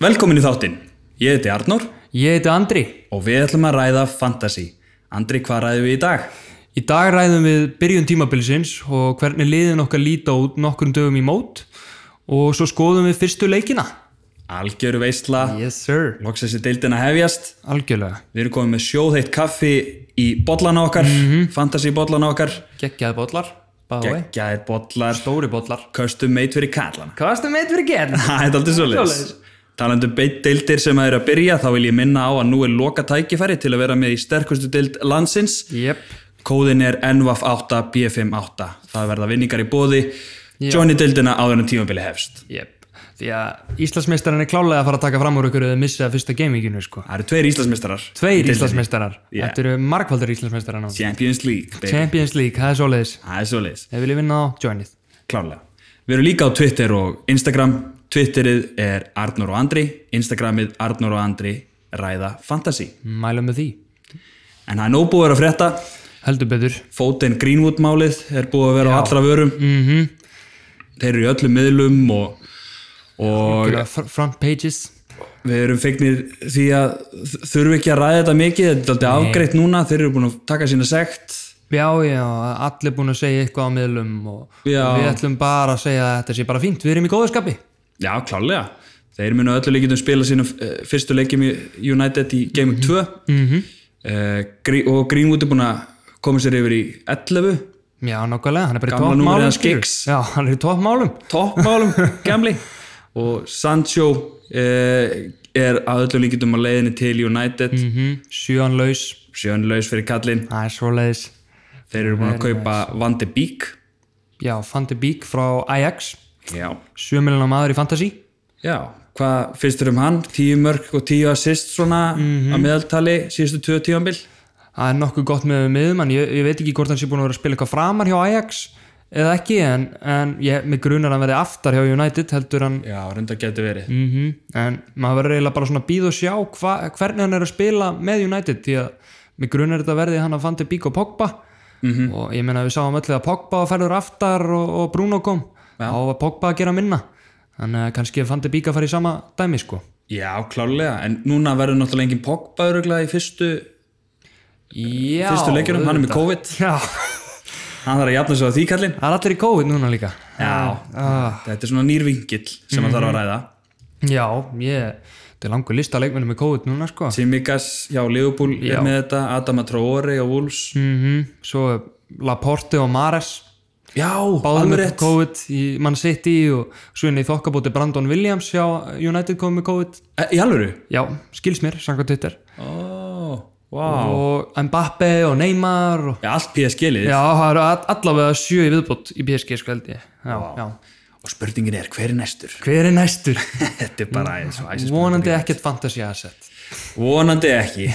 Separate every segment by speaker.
Speaker 1: Velkomin í þáttinn. Ég heiti Arnór
Speaker 2: Ég heiti Andri.
Speaker 1: og við ætlum að ræða fantasy. Andri, hvað ræðum við í dag?
Speaker 2: Í dag ræðum við byrjun tímabilsins og hvernig liðin okkar líta út nokkrum dögum í mót og svo skoðum við fyrstu leikina.
Speaker 1: Algjöru veisla,
Speaker 2: Yes sir.
Speaker 1: loksessi deildin að hefjast.
Speaker 2: Algjörlega.
Speaker 1: Við erum komið með sjóðheitt kaffi í bollana okkar, fantasy bollana okkar,
Speaker 2: Gekkjaði bollar. Báði.
Speaker 1: geggjaðir bollar,
Speaker 2: Stóri bollar.
Speaker 1: custom made fyrir kallana.
Speaker 2: Hvað varstu meitt fyrir genn?
Speaker 1: Það er aldrei svo leiðis.
Speaker 2: Svoleiðis.
Speaker 1: Talandum beitt deildir sem að eru að byrja, þá vil ég minna á að nú er loka tækifæri til að vera með í sterkustu deild landsins.
Speaker 2: Jep.
Speaker 1: Kóðin er NVAF8B58. Það verða vinningar í bóði.
Speaker 2: Já.
Speaker 1: Johnny deildina áður en tímabili hefst.
Speaker 2: Jep. Því að Íslandsmeistarinn er klálega að fara að taka fram úr ykkur eða missa fyrsta gaminginu sko.
Speaker 1: Það eru tveir Íslandsmeistarar. í
Speaker 2: Tveir
Speaker 1: deildinni.
Speaker 2: Íslandsmeistarar.
Speaker 1: Yeah.
Speaker 2: Þetta eru margfaldir Íslandsmeistarar nú.
Speaker 1: Champions League, baby.
Speaker 2: Champions League, það er svoleiðis.
Speaker 1: Það er svo leiðis.
Speaker 2: Ef viljið vinna þá, join it.
Speaker 1: Klárlega. Við erum líka á Twitter og Instagram. Twitterið er Arnur og Andri. Instagramið Arnur og Andri ræða fantasy.
Speaker 2: Mælum með því.
Speaker 1: En það er nóg búið að vera að frétta.
Speaker 2: Heldur betur.
Speaker 1: Fóten Greenwood málið er búið að vera á allra vörum.
Speaker 2: Mhm.
Speaker 1: Þeir eru í öllum miðlum og, og
Speaker 2: Gera fr- front pages
Speaker 1: við erum feignir því að þ- þurfum ekki að ræða þetta mikið. Þetta er alltaf afgreitt núna. Þeir eru búin að taka sína sekt.
Speaker 2: já já, allir búin að segja eitthvað á miðlum og
Speaker 1: Já.
Speaker 2: við ætlum bara að segja að þetta sé bara fínt, við erum í góðu skapi
Speaker 1: Já, klárlega. Þeir munu að öllu líkitum spila sína eh, fyrstu leikjum í United í Game Week 2 -hmm. og Greenwood er búin að koma sér yfir í 11
Speaker 2: já nákvæmlega, hann er bara í
Speaker 1: Gamla númerið
Speaker 2: toppmálum
Speaker 1: hans
Speaker 2: skilur.
Speaker 1: Giggs.
Speaker 2: já, hann er í toppmálum
Speaker 1: toppmálum, gamli og Sancho uh, er að öllu líkitum að leiðinni til United mm.
Speaker 2: mm -hmm. sjönlaus,
Speaker 1: sjönlaus fyrir kallinn
Speaker 2: það er svoleiðis
Speaker 1: þeir eru búin að kaupa Van de Beek
Speaker 2: já, Fandi Bík frá Ajax
Speaker 1: Já,
Speaker 2: sjömilina maður í Fantasí
Speaker 1: Já. hvað finnst þér um hann? 10 mörg og 10 assist svona
Speaker 2: Mhm.
Speaker 1: að meðaltali síðustu 2 tíðanbill
Speaker 2: það er nokkuð gott með miðum en ég, ég veit ekki hvort hann sé búin að vera að spila eitthvað framar hjá Ajax eða ekki, en, en ég, mig grunar að hann verði aftar hjá United heldur hann
Speaker 1: Já, reyndar getur verið
Speaker 2: mm en maður verður eiginlega bara svona að býð og sjá hva, hvernig hann er að spila með United því að mig grunar þetta verði hann að fandi Bík og Pogba og ég meina við sáum öllu að Pogba ferður aftar og, og Bruno kom ja. á að Pogba að gera minna þannig að kannski fandi Bík að fara í sama dæmi sko
Speaker 1: Já, klálega, en núna verður náttúrulega engin Pogba öruglega í fyrstu
Speaker 2: Já,
Speaker 1: Fyrstu leikjunum, hann er með
Speaker 2: auðvitað.
Speaker 1: COVID.
Speaker 2: Já,
Speaker 1: hann þarf að jafna sig á því kallinn
Speaker 2: það er allir í COVID núna líka
Speaker 1: Já,
Speaker 2: ah,
Speaker 1: þetta er svona nýr vingill sem hann
Speaker 2: Mhm.
Speaker 1: þarf að ræða
Speaker 2: Já, ég þetta er langur lista leikmennum með COVID núna sko
Speaker 1: Simikas hjá Liverpool
Speaker 2: Já.
Speaker 1: er með þetta Adama Traore og Wolves
Speaker 2: mm Svo er Laporte og Mares
Speaker 1: Já, alveg
Speaker 2: báðum með
Speaker 1: rétt
Speaker 2: COVID í Man City og svo inn í þokkabóti Brandon Williams hjá United komið með COVID
Speaker 1: E, Í alvöru?
Speaker 2: já, skils mér, sanga Twitter
Speaker 1: Ó, vá
Speaker 2: og Mbappe og Neymar og...
Speaker 1: Já, Allt PSG-lið
Speaker 2: já, það eru all- allavega sjö í viðbót í PSG sko held ég já, já.
Speaker 1: og spurningin er hver er næstur?
Speaker 2: hver er næstur?
Speaker 1: þetta er
Speaker 2: Mm.
Speaker 1: bara eins og æsist
Speaker 2: vonandi ekkert fantasy asset
Speaker 1: Vonandi ekki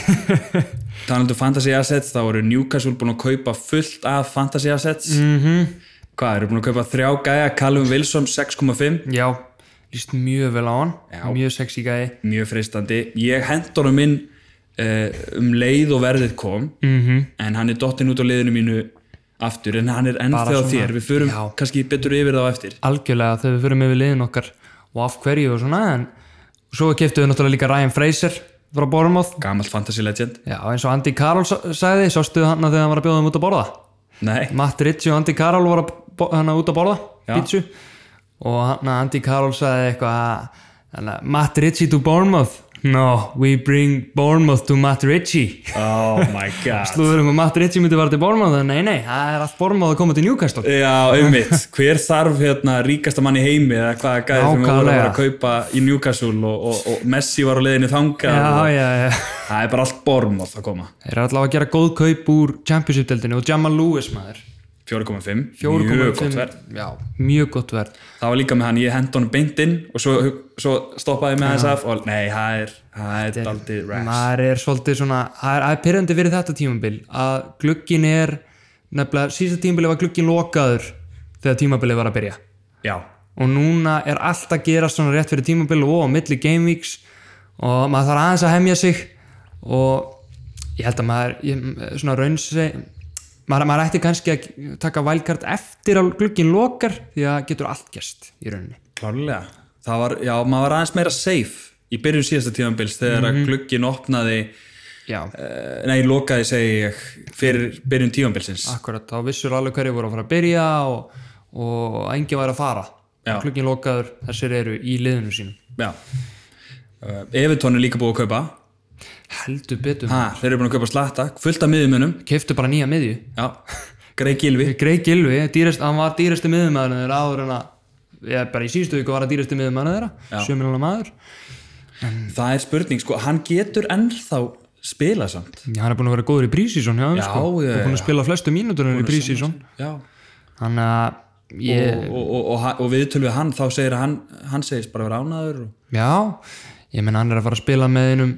Speaker 1: Talandu fantasy assets, þá eru Newcastle búin að kaupa fullt af fantasy assets
Speaker 2: mhm,
Speaker 1: Hvað, eru búin að kaupa þrjá gæja, Callum Wilson 6,5,
Speaker 2: já líst mjög vel á hann,
Speaker 1: Já.
Speaker 2: mjög sexy gæi
Speaker 1: mjög freistandi. Ég hend honum inn uh, um leið og verðið kom,
Speaker 2: mhm,
Speaker 1: en hann er dottinn út á leiðinu mínu aftur, en hann er
Speaker 2: Bara
Speaker 1: ennþá
Speaker 2: svona,
Speaker 1: þér. Við förum
Speaker 2: já.
Speaker 1: kannski betur yfir þá eftir.
Speaker 2: algjörlega þegar við förum yfir liðin okkar og af hverju og svona en svo keftum við náttúrulega líka Ryan Fraser frá Bournemouth
Speaker 1: Gamalt fantasy legend.
Speaker 2: Já, eins og Andy Carroll sa- sagði, sástu hann að þegar hann var að bjóða um út að borða.
Speaker 1: Nei,
Speaker 2: Matt Ritchie og Andy Carroll voru að bo- hann að út að borða,
Speaker 1: Já.
Speaker 2: pítsu. Og hann að Andy Carroll sagði eitthvað að- hann að Matt Ritchie to Bournemouth. No, we bring Bournemouth to Matt Ritchie.
Speaker 1: oh my god.
Speaker 2: Slúður um að Matt Ritchie myndi fara til Bournemouth, en nei, nei, það er allt Bournemouth að koma til Newcastle.
Speaker 1: Já, ummitt. Hver þarf hérna ríkasta mann í heimi eða hvaða gæði sem við vorum að vera að kaupa í Newcastle og, og, og Messi var á leiðinu þangað.
Speaker 2: Já,
Speaker 1: og-
Speaker 2: já, já.
Speaker 1: Það er bara allt borm að koma.
Speaker 2: Þeir eru allavega að gera góð kaup úr Championship-deldinu og Jamal Lewis, maður.
Speaker 1: 4,5.
Speaker 2: 4,5.
Speaker 1: Mjög gott verð.
Speaker 2: Já, mjög gott verð.
Speaker 1: það var líka með hann, ég hendi honum beint inn og svo, svo stoppaði ég með þess af og nei, það er, það er aldrei rætt
Speaker 2: maður er svolítið svona það er- það er pyrrandi fyrir þetta tímabil að glugginn er nefnilega síðasta tímabil var glugginn lokaður þegar tímabilið var að byrja
Speaker 1: já,
Speaker 2: og núna er allt að gerast svona rétt fyrir tímabil og á milli game weeks og maður þarf aðeins að hemja sig og ég held að maður ég, svona raunse maður, maður ætti kannski að taka valkart eftir að glugginn lokar því að getur allt gerst í rauninni
Speaker 1: klárlega það var, já, maður var aðeins meira safe í byrjun síðasta tímanbils þegar
Speaker 2: Mhm.
Speaker 1: að glugginn opnaði
Speaker 2: já,
Speaker 1: eh, nei, lokaði segi ég fyrir byrjun tímanbilsins
Speaker 2: akkurat, þá vissur alveg hverju voru að fara að byrja og, og engi var að fara
Speaker 1: Já.
Speaker 2: klukkinn lokaður, þessir eru í liðinu sínum
Speaker 1: já uh, Evertón er líka búið að kaupa
Speaker 2: heldur betur,
Speaker 1: ha, þeir eru búin að kaupa slatta, fullt af miðumunum
Speaker 2: keftu bara nýja miðju
Speaker 1: já, Greg Gilvi
Speaker 2: Grey Gilvi, dýrist, hann var dýrasti miðumæður þeirra áður en að ég, bara í síðustu viku var hann dýrasti miðumæður þeirra sjömiljónar maður,
Speaker 1: það er spurning, sko, hann getur ennþá spila samt
Speaker 2: Já, hann er búin að vera góður í prísísón hjá hann
Speaker 1: Já,
Speaker 2: sko,
Speaker 1: já,
Speaker 2: Hann er búin að spila flestu mínútur í prísísón
Speaker 1: já,
Speaker 2: þannig að ég,
Speaker 1: og, og, og, og, og viðtölu við hann þá segir að hann, hann segist bara vera ánaður og...
Speaker 2: já, ég menn hann er að fara að spila með einum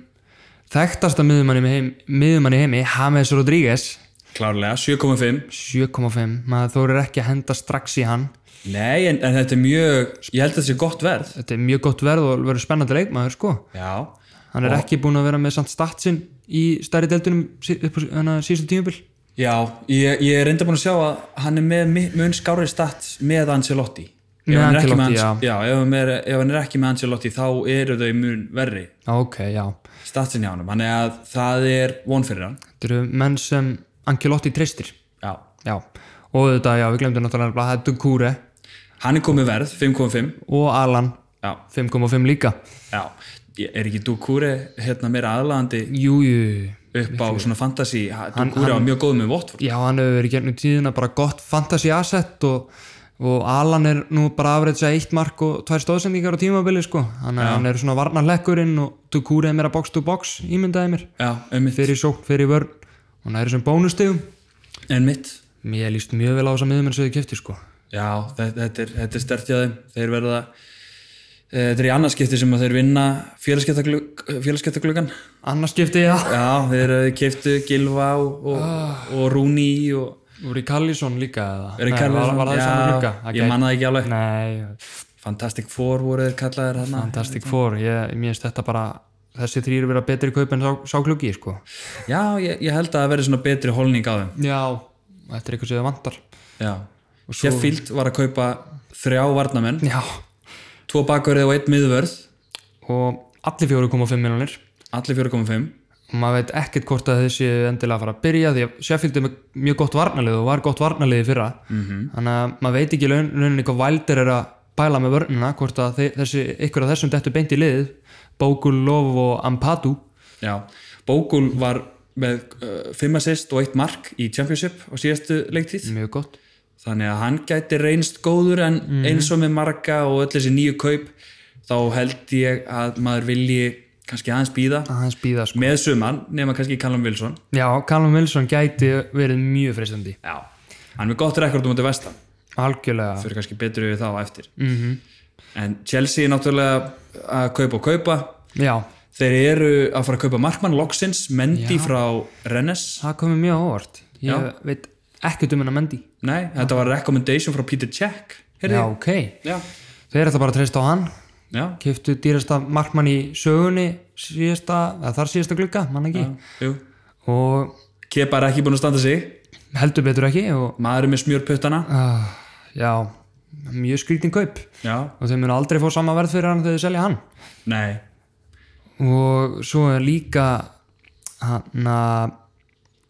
Speaker 2: þekktasta miðumanni í heim, miðumann í heimi James Rodríguez
Speaker 1: klárlega, 7,5
Speaker 2: 7,5, maður þórir ekki að henda strax í hann
Speaker 1: nei, en, en þetta er mjög ég held að þetta sé gott verð
Speaker 2: þetta er mjög gott verð og verður spennandi leikmaður sko
Speaker 1: já,
Speaker 2: hann er ekki búin að vera með samt statsin í stærri deltunum sí- upp á hana síðustu tímubil
Speaker 1: já ég, ég er reynda búin að sjá að hann er með mi- mun skárið stats með Ancelotti Ef
Speaker 2: Með
Speaker 1: hann er ekki
Speaker 2: Ancelotti,
Speaker 1: Anc- já, ef, hann er, ef hann er ekki með Ancelotti þá eru þau mun verri
Speaker 2: ok, já,
Speaker 1: statsin hjá hann þannig að það er von fyrir hann
Speaker 2: þetta eru menn sem Angelotti treystir
Speaker 1: já.
Speaker 2: já, og þetta, já, við glemdum náttúrulega að þetta er Kúre
Speaker 1: hann er komið verð, 5,5
Speaker 2: og Alan
Speaker 1: já,
Speaker 2: 5,5 líka
Speaker 1: já Ég- er ekki Dukure hérna meira aðlaðandi
Speaker 2: jú, jú,
Speaker 1: upp á svona fantasy Dukure var mjög góð með Watford
Speaker 2: já, hann hefur verið gennum tíðina bara gott fantasy asset og, og Alan er nú bara afreitsa eitt mark og tvær stóðsendingar á tímabili sko, hann, hann er svona varnarlekkurinn og þú Kúre er meira box to box ímyndaði mér,
Speaker 1: já, einmitt,
Speaker 2: fyrir sókn, fyrir vörn og hann er þessum bónustegum
Speaker 1: einmitt.
Speaker 2: Mér líst mjög vel á þessa miðumenn sem þið kefti sko.
Speaker 1: já, þetta, þetta er, þetta er stertjaði þeir verða eh, þetta er í annarskipti sem að þeir vinna félagskiptagluggan
Speaker 2: Annars skipti ég það.
Speaker 1: já, þeir keiftu Gilva og, og, og Rúni og
Speaker 2: Voru í Kallísson líka eða?
Speaker 1: Eru í
Speaker 2: Nei,
Speaker 1: Carlisson,
Speaker 2: var, var það
Speaker 1: já,
Speaker 2: í saman glugga? Það
Speaker 1: ég
Speaker 2: gæti-
Speaker 1: manna það ekki alveg
Speaker 2: Nei,
Speaker 1: Fantastic Four voru þeir kallaðir hérna
Speaker 2: Fantastic Four, ég, mér finnst þetta bara, þessi þrýr vera betri kaup en sá, sá klukki sko.
Speaker 1: já, ég, ég held að það verði svona betri holning á þeim
Speaker 2: Já. Þetta er eitthvað sem það vantar.
Speaker 1: já, Sheffield var að kaupa þrjá varnamenn,
Speaker 2: Já.
Speaker 1: tvo bakverði og einn miðvörð
Speaker 2: Og allir fjóru koma fimm miljonir
Speaker 1: allir 4,5
Speaker 2: og maður veit ekkert hvort að þessi endilega að fara að byrja því að Sheffield er með mjög gott varnalið og var gott varnalið í fyrra -hmm. þannig að maður veit ekki í raun- rauninni hvað Wilder er að pæla með vörnina hvort að þe- þessi, ykkur af þessum dettu beint í liðið Bókul, Lof og Ampadu
Speaker 1: Já, Bókul var með uh, fimm assist og eitt mark í Championship á síðastu leiktíð
Speaker 2: mjög gott
Speaker 1: þannig að hann gæti reynst góður en eins og með marga og öll þessi nýju kaup þá held ég að maður vilji kannski aðeins býða
Speaker 2: að hans býða sko
Speaker 1: með suman nema kannski Callum Wilson
Speaker 2: Já, Callum Wilson gæti verið mjög freistandi
Speaker 1: Já, hann er með gott rekord um þetta vestan
Speaker 2: algjörlega
Speaker 1: fyrir kannski betri við þá á eftir -hmm. en Chelsea er náttúrulega að kaupa og kaupa
Speaker 2: Já,
Speaker 1: þeir eru að fara að kaupa markmann Loxins, Mendy frá Rennes
Speaker 2: það komið mjög óvart ég
Speaker 1: Já.
Speaker 2: veit ekkert um hennar Mendy
Speaker 1: Nei, þetta var recommendation frá Peter Cech heyrði
Speaker 2: Já,
Speaker 1: ég.
Speaker 2: ok
Speaker 1: Já.
Speaker 2: Þeir ætla bara að treysta á hann
Speaker 1: Já,
Speaker 2: keftu dýrasta markmann í sögunni síðasta, eða þar síðasta glugga mann ekki,
Speaker 1: jú.
Speaker 2: og
Speaker 1: Kepa er ekki búin að standa sig,
Speaker 2: heldur betur ekki og
Speaker 1: maður er með smjörputtana.
Speaker 2: uh, já, mjög skrýtin kaup
Speaker 1: Já.
Speaker 2: og þeir munu aldrei fá sama verð fyrir hann þegar þeir selja hann
Speaker 1: Nei,
Speaker 2: og svo er líka hann að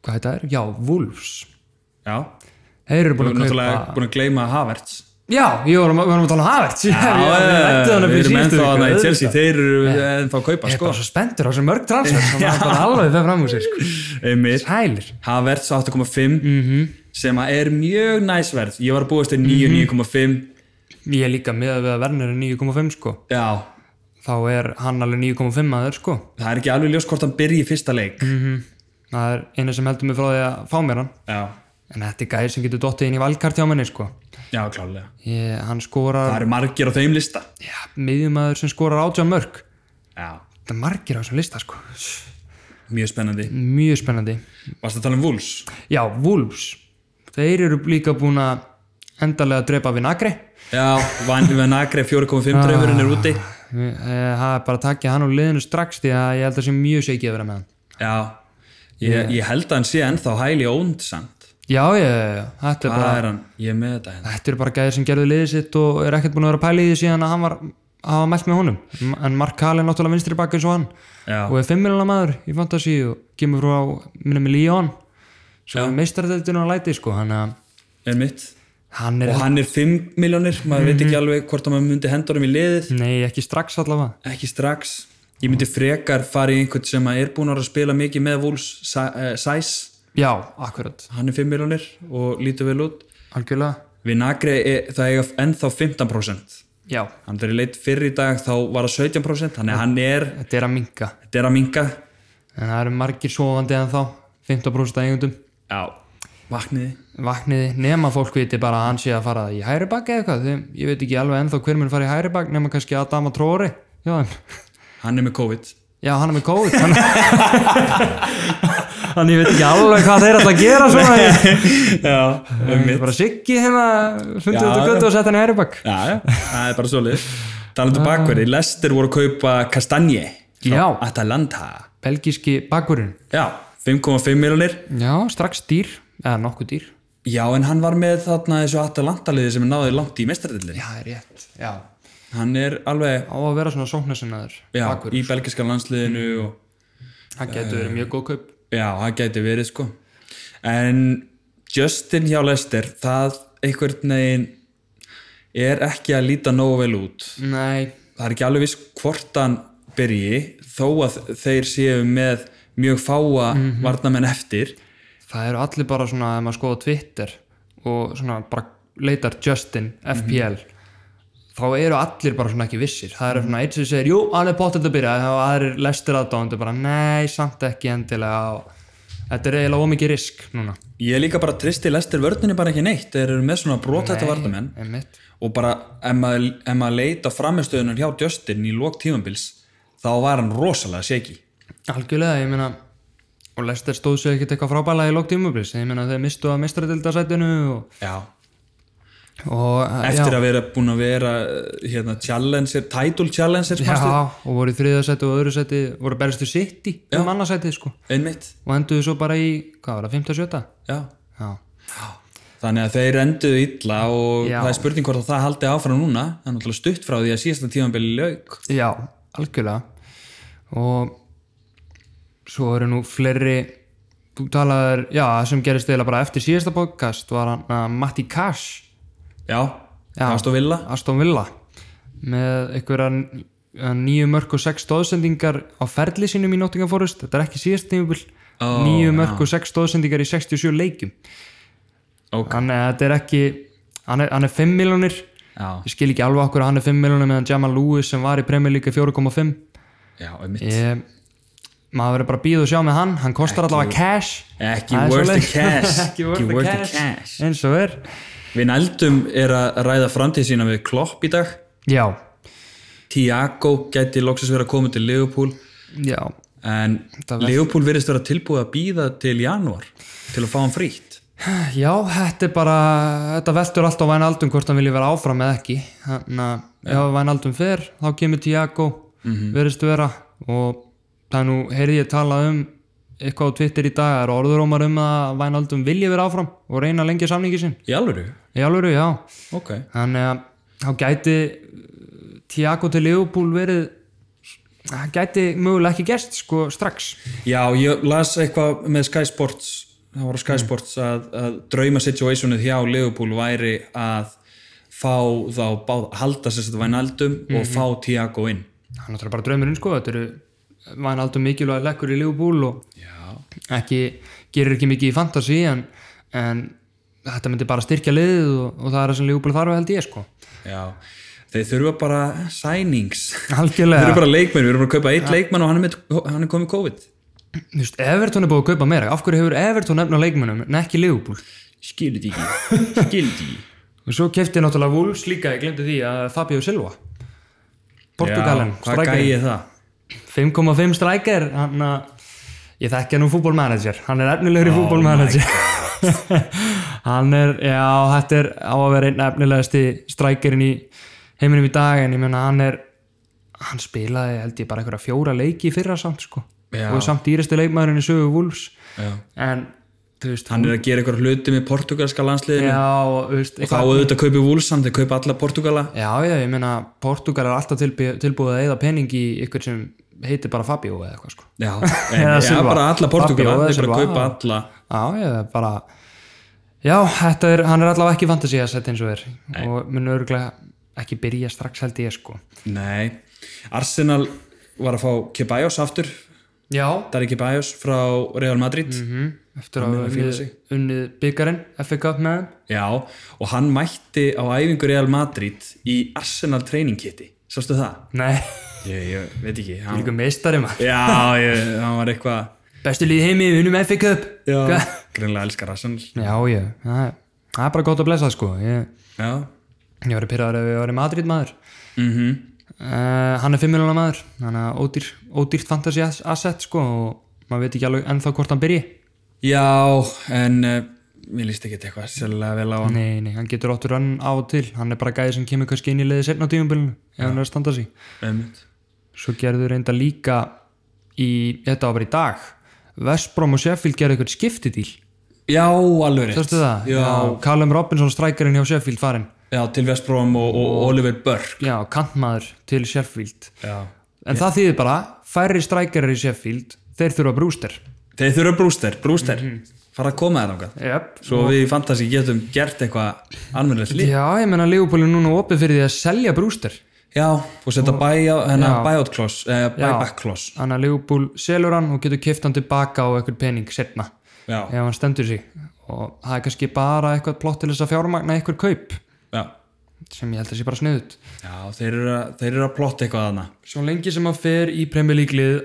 Speaker 2: hvað þetta er? Já, Wolves
Speaker 1: já.
Speaker 2: þeir eru
Speaker 1: Við
Speaker 2: búin
Speaker 1: erum
Speaker 2: að
Speaker 1: náttúrulega
Speaker 2: kaupa
Speaker 1: búin að gleyma Havertz.
Speaker 2: já, við vorum, við vorum að tala um Havertz já, við rættum hann upp
Speaker 1: við
Speaker 2: í
Speaker 1: erum
Speaker 2: síðustu
Speaker 1: ennþá að
Speaker 2: viku,
Speaker 1: það í
Speaker 2: auðvitað.
Speaker 1: Chelsea, þeir eru ennþá að kaupa,
Speaker 2: ég er
Speaker 1: sko.
Speaker 2: bara svo spenntur á þessu mörg transfer sem hann bara alveg fer fram úr sér sko.
Speaker 1: Einmitt.
Speaker 2: hælir
Speaker 1: Havertz á 8,5
Speaker 2: Mhm.
Speaker 1: sem að er mjög næsverð. Ég var að búast til 9, 9,5.
Speaker 2: Ég er líka með að við að Werner er 9,5 sko
Speaker 1: Já,
Speaker 2: þá er hann alveg 9,5 aður sko
Speaker 1: það er ekki alveg ljós hvort hann byrji í fyrsta leik.
Speaker 2: Mhm. það er eina sem heldur mig frá því að fá mér hann
Speaker 1: Já,
Speaker 2: en þetta er gæðir sem getur dottið inn í valkart hjá manni sko
Speaker 1: já, klálega.
Speaker 2: ég, hann
Speaker 1: Það
Speaker 2: skorar
Speaker 1: eru margir á þeim lista.
Speaker 2: já, miðjumæður sem skorar átjá mörg
Speaker 1: Já,
Speaker 2: þetta er margir á þessum lista sko
Speaker 1: mjög spennandi.
Speaker 2: mjög spennandi
Speaker 1: Varst að tala um Wolves?
Speaker 2: já, Wolves þeir eru líka búin að endarlega drepa við Nagri
Speaker 1: Já, Vanli Van Agre 4.5 dreifurinn er úti
Speaker 2: Eh, það er bara að takja hann úr liðinu strax því að ég held að sé mjög seikið að vera með hann
Speaker 1: Já, ég, ég held að hann sé ennþá hæli ónd samt
Speaker 2: já, já, já, já, þetta er bara
Speaker 1: Hvað er hann? Ég er með þetta hérna
Speaker 2: Þetta eru bara gæðir sem gerðu liðið sitt og er ekkert búin að vera að pæla í því síðan að hann var hafa mælt með honum en Mark Kalin náttúrulega vinstri bak eins og hann
Speaker 1: Já.
Speaker 2: og er fimmilina maður í fantasy og kemur frá minnum í Líón svo er meistardeldinu að læti sko hann,
Speaker 1: er mitt
Speaker 2: hann er
Speaker 1: og hann er 5 miljónir, maður veit
Speaker 2: Mhm.
Speaker 1: ekki alveg hvort að maður myndi hendurum í liðið
Speaker 2: nei ekki strax allavega
Speaker 1: ekki strax ég myndi frekar fara í einhvern sem að er búin að vera að spila mikið með Wolves Sæs,
Speaker 2: já, akkurat,
Speaker 1: hann er 5 miljónir og lítur vel út
Speaker 2: algjörlega
Speaker 1: við Nagri, er- það eiga ennþá 15%
Speaker 2: já,
Speaker 1: hann þegar ég leitt fyrir í dag þá var það 17% þannig að hann er,
Speaker 2: þetta er að minka
Speaker 1: þetta er að minga
Speaker 2: en það eru margir sofandi en þá 15% af eigundum
Speaker 1: já, vakniði
Speaker 2: vakniði nema fólk viti bara að hann sé að fara í hægri bak eða eitthvað þeim, ég veit ekki alveg ennþá hver mun fara í hægri bak nema kannski Adama Tróri já, en-
Speaker 1: hann er með COVID
Speaker 2: já hann er með COVID þannig þannig ég veit ekki alveg hvað þeir ætla að gera svona ég,
Speaker 1: já, um
Speaker 2: ég bara siggi hérna fundið
Speaker 1: Já,
Speaker 2: þetta göttu og setja hann í hægri bak
Speaker 1: já, já, það er bara svolítið talandu bakverði, Lester voru að kaupa Kastanje
Speaker 2: Já.
Speaker 1: Atalanta
Speaker 2: belgíski bakurinn
Speaker 1: já, 5,5 miljonir
Speaker 2: já strax dýr eða nokkuð dýr
Speaker 1: já, en hann var með þarna þessu Atalanta liði sem er náðið langt í mestardildinni
Speaker 2: já er rétt já.
Speaker 1: hann er alveg
Speaker 2: á að vera svona sóknarsinnaður
Speaker 1: já,
Speaker 2: bakurinn
Speaker 1: í belgiska landsliðinu og
Speaker 2: það getur verið mjög góð kaup
Speaker 1: já, það gæti verið sko en Justin hjá Lester það einhvern veginn er ekki að líta nógu vel út
Speaker 2: nei
Speaker 1: það er ekki alveg viss hvort hann byrji þó að þeir séu með mjög fáa
Speaker 2: Mhm.
Speaker 1: varnamenn eftir
Speaker 2: Það eru allir bara svona, ef maður skoða Twitter og svona bara leitar Justin, FPL þá eru allir bara svona ekki vissir það eru svona einn sem segir, jú, hann er pottet að byrja og aðrir lestir aðdáðandi bara, nei, samt ekki endilega og þetta er eiginlega ómikið risk núna
Speaker 1: ég er líka bara tristi lestir vörninni bara ekki neitt þeir eru með svona brotætta varnamenn
Speaker 2: Einmitt.
Speaker 1: og bara ef maður, ef maður leita framistöðunar hjá Justin í lók tímambils þá var hann rosalega seki
Speaker 2: Algjörlega, ég meina og lestir stóð sér ekkert eitthvað frábælega í lók tímublis ég meina þeir mistu að mistradildasætinu og,
Speaker 1: já.
Speaker 2: og
Speaker 1: eftir að vera búin að vera eh, hérna, challenger, title challenger
Speaker 2: já,
Speaker 1: manstu?
Speaker 2: og voru í þriðasæti og öðru sæti voru berðstu sitt í um annarsæti sko
Speaker 1: einmitt
Speaker 2: og enduðu svo bara í, hvað var það, 57?
Speaker 1: já.
Speaker 2: Já.
Speaker 1: þannig að þeir enduðu illa og
Speaker 2: Já.
Speaker 1: það er spurning hvort að það haldi áfram núna það er náttúrulega stutt frá því að síðasta tímambili lauk
Speaker 2: Já, algjörlega og svo eru nú fleiri þú talaður, já, það sem gerist eða bara eftir síðasta podcast var hann að Matti Cash,
Speaker 1: Já,
Speaker 2: Já.
Speaker 1: Aston Villa
Speaker 2: Aston Villa með einhverja nýju mörg og sex stóðsendingar á ferli sínum í Nottingham Forest, þetta er ekki síðast tímubil
Speaker 1: Ó,
Speaker 2: nýju mörg og sex stóðsendingar í 67 leikjum
Speaker 1: Ok.
Speaker 2: þannig að þetta er ekki hann er, hann er 5 miljonir
Speaker 1: Já,
Speaker 2: ég skil ekki alveg okkur að hann er 5 miljonir meðan Jamal Lewis sem var í Premier League er 4,5
Speaker 1: já, einmitt
Speaker 2: Ég- maður verður bara að býða og sjá með hann hann kostar allavega cash
Speaker 1: Ekki
Speaker 2: Það er
Speaker 1: worth the
Speaker 2: svoleiðis.
Speaker 1: cash
Speaker 2: Ekki worth the cash. eins og er
Speaker 1: Við nældum er að ræða framtíð sína við Klopp í dag
Speaker 2: já,
Speaker 1: Tiago gæti loksins verið að koma til Liverpool
Speaker 2: já,
Speaker 1: en Liverpool verðist vera tilbúið að býða til janúar til að fá hann frítt
Speaker 2: já þetta er bara þetta veltur allt á Vænaldum hvort hann vilji vera áfram eða ekki þannig að ef Vænaldum fer þá kemur Tiago mm -hmm. verðist vera og það er nú heyrði ég tala um eitthvað á Twitter í dag, það eru orðurómar um að Vænaldum vilji vera áfram og reyna lengi samningi sinn,
Speaker 1: Í alvöru?
Speaker 2: í alvöru já
Speaker 1: Ok
Speaker 2: þannig að þá gæti Tiago til Leopold verið það gæti mögulega ekki gerst sko strax
Speaker 1: Já, ég las eitthvað með Sky Sports það voru Sky Sports að, að drauma situationið hjá Liverpool væri að fá þá báð, halda sér þetta vænaldum og fá Tiago inn
Speaker 2: það er náttúrulega bara draumurinn sko þetta eru væn aldrei mikilvæg lekkur í Leopold og
Speaker 1: Já
Speaker 2: ekki, gerir ekki mikið í fantasy en, en þetta myndi bara styrkja liðið og, og það er það sem Leopold þarf held ég sko
Speaker 1: Já, þeir þurfa bara signings Þeir eru
Speaker 2: algjörlega,
Speaker 1: bara leikmenn, við erum bara að kaupa eitt leikmann og hann er, með, hann er komið COVID
Speaker 2: þú veist, Everton er búið að kaupa meira af hverju hefur Everton nefna leikmennum en ekki Leopold
Speaker 1: Skildi ekki, skildi
Speaker 2: og svo kefti náttúrulega Wolves líka, ég glemdi því að Fabio Silva Portugalin,
Speaker 1: Hvað gæði það?
Speaker 2: 5,5 strækir hann að ég þekkja nú fútbólmanager hann er
Speaker 1: oh
Speaker 2: efnilegur í fútbólmanager hann er, já, þetta er á að vera einn efnilegasti strækirinn í heiminum í dag en ég menna hann er hann spilaði held ég bara einhverja fjóra leiki í fyrra samt sko
Speaker 1: Já.
Speaker 2: og er samt dýrasti leikmaðurinn í sögu Wolves
Speaker 1: Já.
Speaker 2: en þú veist,
Speaker 1: hann er að gera einhverja hluti með portugalska landsliðinu
Speaker 2: já, og, þú veist,
Speaker 1: Mm. og þá auðvitað kaupi Wolfsam, þeir kaupa alla portugala
Speaker 2: Já, já, ég meina, Portugal er alltaf tilbúið, tilbúið að eyða pening í ykkur sem heitir bara Fabio eða eitthvað sko.
Speaker 1: já, en,
Speaker 2: Eða
Speaker 1: já
Speaker 2: Silva.
Speaker 1: bara alla portugala,
Speaker 2: Fabio eða
Speaker 1: þeir bara
Speaker 2: Silva.
Speaker 1: kaupa alla
Speaker 2: Já, ég er bara Já, þetta er, hann er allavega ekki fantasy að setja eins og er og mun örgulega ekki byrja strax held ég sko.
Speaker 1: nei, Arsenal var að fá Kebajos aftur
Speaker 2: Já, mhm,
Speaker 1: Dari Kebajos frá Real Madrid
Speaker 2: Mm. eftir að
Speaker 1: fíla
Speaker 2: unnið, unnið byggarinn FA Cup með þeim.
Speaker 1: já, og hann mætti á æfingu Real Madrid í Arsenal training kiti, sástu það?
Speaker 2: Nei,
Speaker 1: ég, ég veit ekki hann,
Speaker 2: líka meistari maður
Speaker 1: já, ég, hann var eitthvað
Speaker 2: Bestu líð heimi, við unnum FA Cup
Speaker 1: Já,
Speaker 2: Hva-
Speaker 1: greinlega elskar Arsenal
Speaker 2: Já, ég, það er, það er bara gott að blessa sko. ég,
Speaker 1: Já,
Speaker 2: ég var að pyrraður ef ég var í Madrid maður
Speaker 1: mhm
Speaker 2: Uh, hann er 5 miljonar maður þannig að ódýr, ódýrt fantasy ass- asset sko og maður veit ekki alveg ennþá hvort hann byrji
Speaker 1: Já, en uh, mér líst ekki eitthvað sérlega vel á hann
Speaker 2: nei, nei, hann getur áttur önn á og til hann er bara gæði sem kemur kannski inn í leiði setna á tímumbilinu ef hann er að standa sig
Speaker 1: Einmitt.
Speaker 2: svo gerðu reynda líka í, þetta var bara í dag Vestbrom og Sheffield gerðu eitthvað skiptidíl
Speaker 1: Já, alveg rétt
Speaker 2: þarstu það?
Speaker 1: Já,
Speaker 2: Já, Callum Robinson strækarinn hjá Sheffield farinn
Speaker 1: já til Vestbrom og, og Oliver Burke
Speaker 2: já, kantmaður til Sheffield
Speaker 1: Já
Speaker 2: en það þýðir bara, færri strækarar í Sheffield þeir þurfa brúster
Speaker 1: Þeir þurfa brúster, brúster fara að koma þér ákvæð
Speaker 2: yep.
Speaker 1: Svo við í Fantasí getum gert eitthvað almennilegt líf
Speaker 2: Já, ég menna Leopold er núna opið fyrir því að selja brúster
Speaker 1: Já, og setja buy- hennar buyout clause eh, buyback clause
Speaker 2: Þannig að Leopold selur hann og getur kipt hann tilbaka á eitthvað pening setna
Speaker 1: Já,
Speaker 2: ef hann stendur sig og það er kannski bara eitthvað plott til þess að fjármagna eitthvað kaup
Speaker 1: já
Speaker 2: sem ég held að sé bara sniðut
Speaker 1: Já, þeir eru að, þeir eru að plotta eitthvað þarna
Speaker 2: Svo lengi sem hann fer í Premier League lið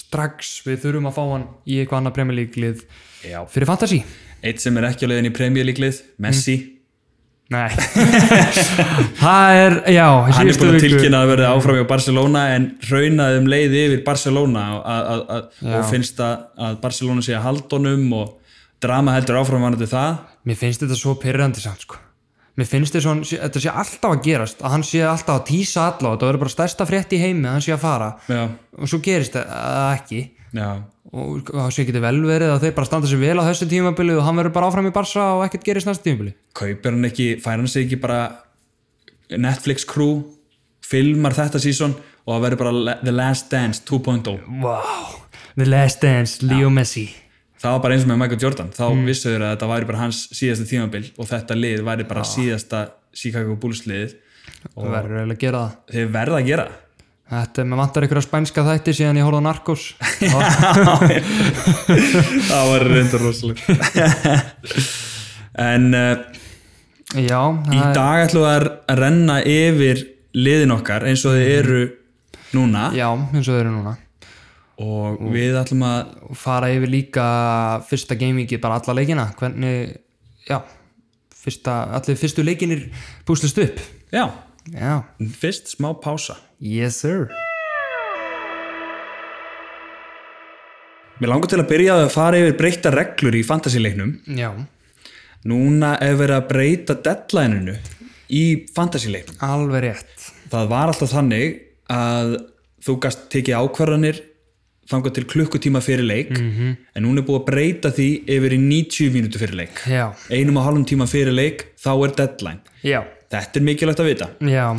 Speaker 2: strax við þurfum að fá hann í eitthvað annað Premier League lið
Speaker 1: Já
Speaker 2: fyrir fantasy
Speaker 1: Eitt sem er ekki á leiðin í premjölíklið, Messi
Speaker 2: Nei Það er, já
Speaker 1: hann er
Speaker 2: í síðustu
Speaker 1: búin að
Speaker 2: viku-
Speaker 1: tilkynna að verði áfram hjá Barcelona en raunaði um leið yfir Barcelona að, að, að, og finnst að, að Barcelona sé að haldunum og drama heldur áfram varandi það
Speaker 2: Mér finnst þetta svo pyrrandi samt sko Mér finnst þetta, svona, þetta sé alltaf að gerast að hann sé alltaf að tísa alla og þetta verður bara stærsta frétt í heimi að hann sé að fara
Speaker 1: já,
Speaker 2: og svo gerist það eh, ekki
Speaker 1: já,
Speaker 2: og það sé ekki vel verið að þeir bara standa sér vel á þessu tímabili og hann verður bara áfram í Barsa og ekkert gerist næsta tímabili
Speaker 1: kaupir hann ekki fær hann sig ekki bara Netflix crew, filmar þetta sísón og það verður bara la- The Last Dance oh. 2.0,
Speaker 2: Wow, The Last Dance, Leo Messi
Speaker 1: það var bara eins og með Michael Jordan þá mm. vissuður að þetta væri bara hans síðasta tímabil og þetta lið væri bara síðasta Chicago Bulls liðið
Speaker 2: og verður eiginlega að gera það
Speaker 1: þeir verða að gera það
Speaker 2: Þetta, maður vantar einhverja spænska þætti síðan ég horfði á Narcos
Speaker 1: það var reyndar rosalega en uh,
Speaker 2: Já,
Speaker 1: í
Speaker 2: það er-
Speaker 1: dag ætlum við að renna yfir liðin okkar eins og þið eru núna
Speaker 2: já, eins og þau eru núna
Speaker 1: og við ætlum að
Speaker 2: og fara yfir líka fyrsta gamingi bara alla leikina hvernig, já fyrsta, allir fyrstu leikinir púslist upp
Speaker 1: já,
Speaker 2: já,
Speaker 1: fyrst smá pása
Speaker 2: yes sir
Speaker 1: mér langar til að byrja á því að fara yfir breyta reglur í fantasíleiknum
Speaker 2: já,
Speaker 1: núna er verið að breyta deadlineinu í fantasíleiknum
Speaker 2: alveg rétt
Speaker 1: það var alltaf þannig að þú gast tekið ákvarðanir þangað til klukkutíma fyrir leik
Speaker 2: Mhm.
Speaker 1: -hmm. en núna er búið að breyta því yfir í 90 mínútu fyrir leik
Speaker 2: já,
Speaker 1: einum og halvum tíma fyrir leik þá er deadline
Speaker 2: já,
Speaker 1: þetta er mikilvægt að vita
Speaker 2: já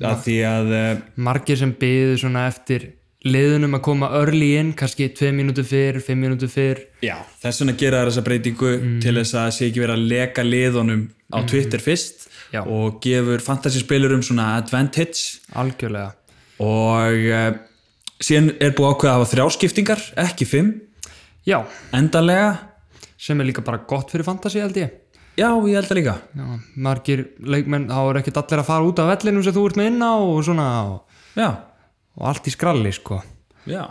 Speaker 1: að því að eh,
Speaker 2: margir sem byðu svona eftir liðunum að koma early inn kannski 2 mínútu fyrr, 5 mínútu fyrr
Speaker 1: já, þess vegna gera þær þessa breytingu
Speaker 2: Mhm.
Speaker 1: til þess að sé ekki verið að leka liðunum á Twitter fyrst
Speaker 2: Já.
Speaker 1: og gefur fantasyspilurum svona advantage
Speaker 2: algjörlega
Speaker 1: og uh, síðan er búið ákveða að hafa þrjáskiptingar ekki fimm,
Speaker 2: já,
Speaker 1: endalega
Speaker 2: sem er líka bara gott fyrir fantasy held ég
Speaker 1: já, ég held að líka
Speaker 2: já, margir leikmenn, þá er ekkert allir að fara út af vellinum sem þú ert með inn á og svona og,
Speaker 1: já,
Speaker 2: og allt í skralli sko
Speaker 1: já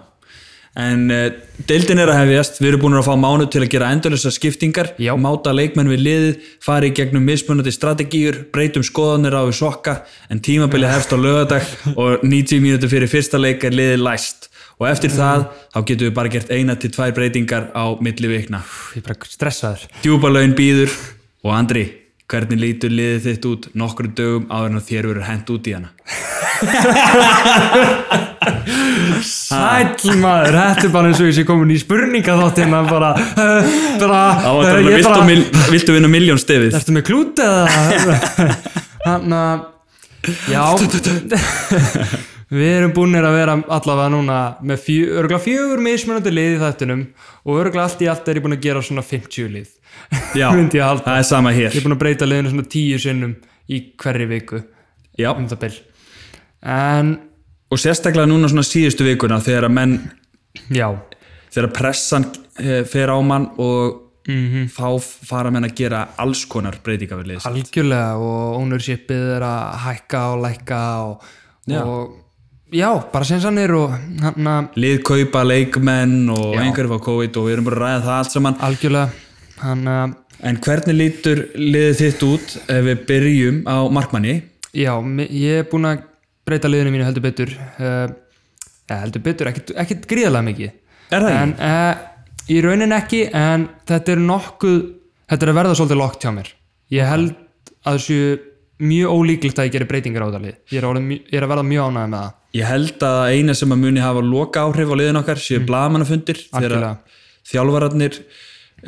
Speaker 1: En uh, deildin er að hefjast, við erum búin að fá mánu til að gera endurlösa skiptingar,
Speaker 2: Já.
Speaker 1: máta leikmenn við liðið, fara í gegnum mismunandi strategíur, breytum skoðanir á við sokka, en tímabilið hefst á lögadag og 90 mínútur fyrir fyrsta leik er liðið læst. Og eftir það, þá getum við bara gert eina til tvær breytingar á milli vikna.
Speaker 2: Ég er bara stressaður.
Speaker 1: Djúbalaun býður og Andri, hvernig lítur liðið þitt út nokkru dögum áður en að þér verður hent út í hana
Speaker 2: Sæll maður, þetta er bara eins og ég sé komin í spurninga þáttinn að bara, uh, bara,
Speaker 1: Það var
Speaker 2: eh,
Speaker 1: bara,
Speaker 2: ég
Speaker 1: viltu, mil, viltu vinna miljón stefið?
Speaker 2: Ertu með klút eða? Þannig að, já, við erum búinir að vera allavega núna með fjö, örgla fjögur mismunandi lið í þættinum og örgla allt í allt er ég búin að gera svona 50 lið.
Speaker 1: Já,
Speaker 2: Myndi ég halda.
Speaker 1: það er sama hér
Speaker 2: Ég er búin að breyta liðinu svona 10 sinnum í hverri viku
Speaker 1: Já,
Speaker 2: um það byrj. En,
Speaker 1: og sérstaklega núna svona síðustu vikuna þegar að menn,
Speaker 2: já,
Speaker 1: þegar pressan eh, fer á mann og
Speaker 2: Mhm.
Speaker 1: þá fara menn að gera alls konar breytinga við liðs
Speaker 2: algjörlega og ownershipið er að hækka og lækka og,
Speaker 1: Já.
Speaker 2: og já, bara sensanir og hann að
Speaker 1: Lið kaupa leikmenn og einhverjum á COVID og við erum bara að ræða það allt saman
Speaker 2: algjörlega, hann að
Speaker 1: En hvernig lítur liðið þitt út ef við byrjum á markmanni?
Speaker 2: Já, mi- ég er búinn að breyta liðinu mínu heldur betur uh, heldur betur, ekkert, ekkert gríðarlega mikið
Speaker 1: Er það
Speaker 2: en uh, í raunin ekki en þetta er nokkuð þetta er að verða svolítið lokt hjá mér ég held að þessu mjög ólíklegt að ég gerir breytingar á þetta lið ég er, orðinn mj- ég er að verða mjög ánægð með það
Speaker 1: Ég held að eina sem að muni hafa loka áhrif á liðin okkar séu mm. blaðmannafundir þegar að
Speaker 2: Algjörlega.
Speaker 1: þjálfararnir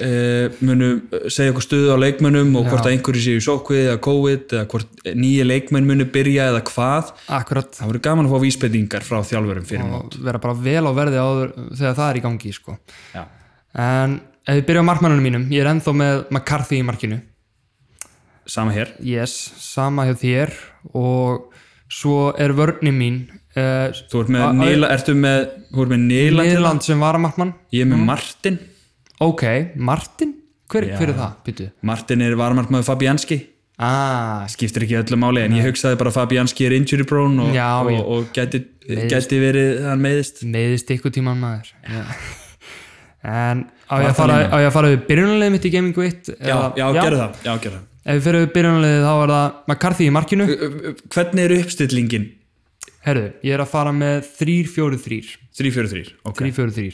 Speaker 1: eh, munu segja okkur stuðu á leikmönnum og hvort að einhverju séu í sókvið eða COVID eða hvort nýja leikmenn munu byrja eða hvað.
Speaker 2: akkurat
Speaker 1: Það voru gaman að fá vísbendingar frá þjálfurum fyrir mót.
Speaker 2: og vera bara vel á verði áður þegar það er í gangi sko.
Speaker 1: Já.
Speaker 2: en ef ég byrja á markmannunum mínum ég er ennþá með McCarthy í markinu
Speaker 1: Sama hér.
Speaker 2: Yes, sama hjá þér og svo er vörni mín uh,
Speaker 1: Þú ert með Nýla, ertu með, þú ert með Nýla,
Speaker 2: Nýland sem varamarkmann
Speaker 1: ég er með Martin.
Speaker 2: Ok, Martin? Hver, hver er það? Býtu
Speaker 1: Martin er varmart maður Fabianski.
Speaker 2: ah,
Speaker 1: skiptir ekki öllu máli en ég hugsaði bara að Fabianski er injury prone og,
Speaker 2: Já,
Speaker 1: og,
Speaker 2: já.
Speaker 1: og gæti, gæti verið hann meiðist
Speaker 2: Meðist ykkur tíman maður Já. En á ég, að fara, á ég að fara við byrjunarlegið mitt í Gaming 1
Speaker 1: já, já, gerðu það, já, gerðu það.
Speaker 2: Ef við fyrir við byrjunarlegið þá er það McCarthy í markinu
Speaker 1: Ö, ö, Hvernig eru uppstillingin?
Speaker 2: Herðu, ég er að fara með 3-4-3
Speaker 1: 3-4-3 ok.
Speaker 2: 3-4-3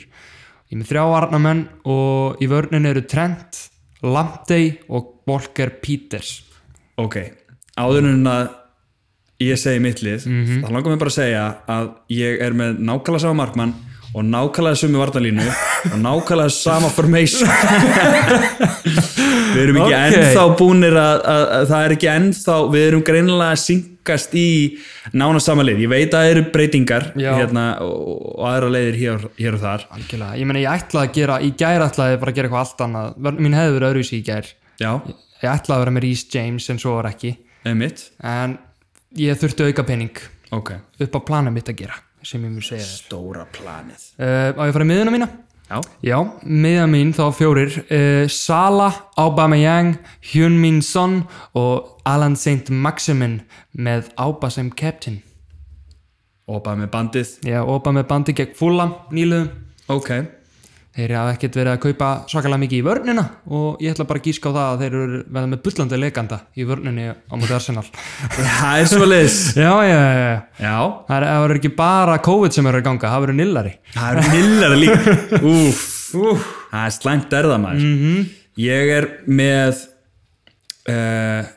Speaker 2: Ég er með þrjá varnamenn og í vörnin eru Trent, Lamptey og Volker Peters
Speaker 1: ok, áður en að ég segi mitt lið
Speaker 2: Mhm.
Speaker 1: þá langar mér bara að segja að ég er með nákvæmlega sama markmann og nákvæmlega sömu vartalínu og nákvæmlega sama formation við erum ekki
Speaker 2: Ok.
Speaker 1: ennþá búnir að, að, að það er ekki ennþá við erum greinilega að syngast í nána sama lið, ég veit að það eru breytingar
Speaker 2: Já.
Speaker 1: hérna, og, og aðra leiðir hér, hér og þar
Speaker 2: Algjörlega, ég meina ég ætlaði að gera í gær ætlaði ég bara að gera eitthvað allt annað Vörn mín hefði verið öðruvísi í gær
Speaker 1: já,
Speaker 2: Ég ætlaði að vera með Rhys James en svo var ekki
Speaker 1: eða mitt
Speaker 2: en ég þurfti auka pening
Speaker 1: ok,
Speaker 2: upp á planið mitt að gera sem ég mjög segja þér
Speaker 1: stóra planið
Speaker 2: uh, Á ég að fara í miðuna mína?
Speaker 1: já,
Speaker 2: Já, miða mín þá fjórir uh, Sala, Aubameyang, Hyunmin Son og Alan St. Maximin með Auba sem captain
Speaker 1: og bara með bandið
Speaker 2: Já, Auba með bandi gegn Fulham nýluðum
Speaker 1: ok,
Speaker 2: Þeir hafa ekkert verið að kaupa svakalega mikið í vörnina og ég ætla bara að gíska á það að þeir eru verða með bullandi leikanda í vörninni á móti Arsenal
Speaker 1: það er svo leiðis
Speaker 2: Já, já, já, já
Speaker 1: já,
Speaker 2: Það er- það verður ekki bara COVID sem eru að ganga, það verður nillari
Speaker 1: Það eru millar líka Úf, Það er slæmt erða maður Ég er með uh,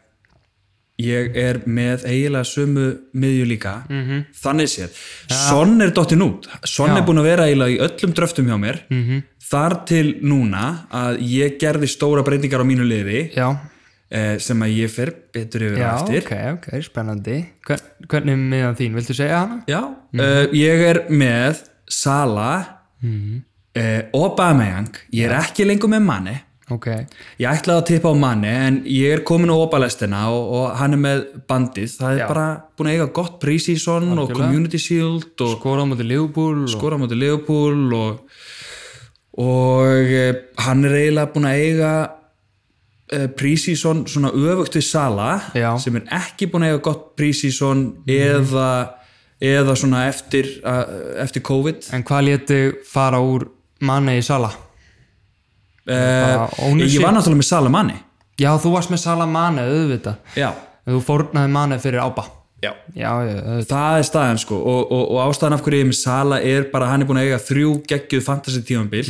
Speaker 1: Ég er með eiginlega sömu miðju líka -hmm. Þannig séð Sonn er dottinn út Sonn er búin að vera eiginlega í öllum dröftum hjá mér -hmm. Þar til núna að ég gerði stóra breytingar á mínu liði
Speaker 2: Já,
Speaker 1: uh, sem að ég fer betur yfir
Speaker 2: já,
Speaker 1: á eftir
Speaker 2: ok, ok, spennandi Hvern, Hvernig er miðan þín, viltu segja hana?
Speaker 1: Já, uh, ég er með Sala uh, og Bameyang, ég er ekki lengur með Manni
Speaker 2: Ok
Speaker 1: ég ætlaði að tippa á Manni en ég er komin á opalestina og, og hann er með bandið, það er bara búin að eiga gott pre-season og community shield og
Speaker 2: skora á móti Liverpool og...
Speaker 1: Sko. skora á móti Leopold og, og uh, hann er eiginlega búin að eiga uh, pre-season svona öfugt við Sala
Speaker 2: Já.
Speaker 1: sem er ekki búin að eiga gott pre-season eða, eða svona eftir, uh, eftir COVID
Speaker 2: en hvað léti fara úr manni í Sala?
Speaker 1: uh,
Speaker 2: Bara
Speaker 1: ég
Speaker 2: ownership.
Speaker 1: var náttúrulega með Sala manni
Speaker 2: Já, þú varst með Sala manni, auðvitað
Speaker 1: já,
Speaker 2: þú fórnaði manni fyrir ába
Speaker 1: já
Speaker 2: já, já, auðvitað
Speaker 1: Það er staðan sko og, og, og ástæðan af hverju ég er
Speaker 2: Mhm.
Speaker 1: með Sala er bara að hann er búin að eiga þrjú geggjuð fantasy tífambil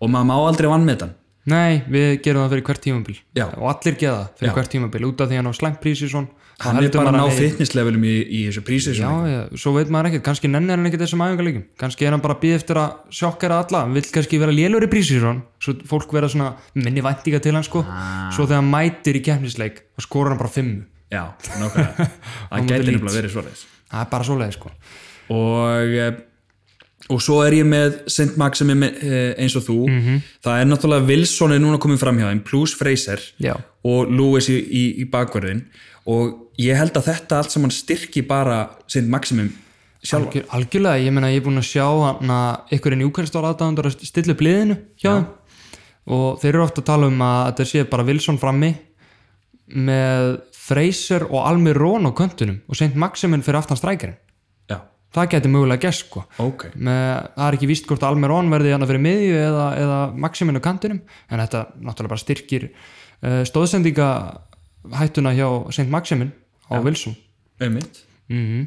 Speaker 1: og maður má aldrei vann með hann
Speaker 2: Nei, við gerum það fyrir hvert tímabil
Speaker 1: Já.
Speaker 2: og allir geða það fyrir
Speaker 1: Já.
Speaker 2: hvert tímabil út af því að hann á slæmt prísi svon
Speaker 1: hann er bara að ná fitnesslevelum í, í þessu prísi
Speaker 2: Já, já, svo veit maður ekkert, kannski nennir hann ekkert þessum æfingarleikum kannski er hann bara að býð eftir að sjokkera alla hann vill kannski vera lélur í prísi svon svo fólk vera svona minni væntinga til hann sko
Speaker 1: Ah.
Speaker 2: svo þegar hann mætir í keppnisleik og skora hann bara fimmu
Speaker 1: já nákvæmlega það gæti nefnilega verið svoleiðis
Speaker 2: það er bara svoleiði sko
Speaker 1: og eh, og svo er ég með Sint Max sem er með, eh, eins og þú
Speaker 2: Mhm.
Speaker 1: það er náttúrulega Wilson er núna komin fram hjá þeim plus Fraser
Speaker 2: Já.
Speaker 1: og Lewis í, í, í bakverðin og ég held að þetta allt saman styrki bara Sint Maximum sjálf
Speaker 2: Algjör, algjörlega, ég meina ég er búin að sjá hann að ykkur en Júkvæmstór aðdáðundur að stilla upp liðinu hjá þeim og þeir eru ofta að tala um að þetta sé bara Wilson frammi með Fraser og Almir Rón á köntunum og Saint Maximin fyrir aftan strækjarinn
Speaker 1: já,
Speaker 2: það geti mögulega gæst sko
Speaker 1: ok
Speaker 2: með, það er ekki víst hvort að Almir Rón verði hann fyrir miðju eða, eða Maximin á kantinum en þetta náttúrulega bara styrkir uh, stóðsendinga hættuna hjá Saint Maximin á Wilson
Speaker 1: einmitt
Speaker 2: mm -hmm.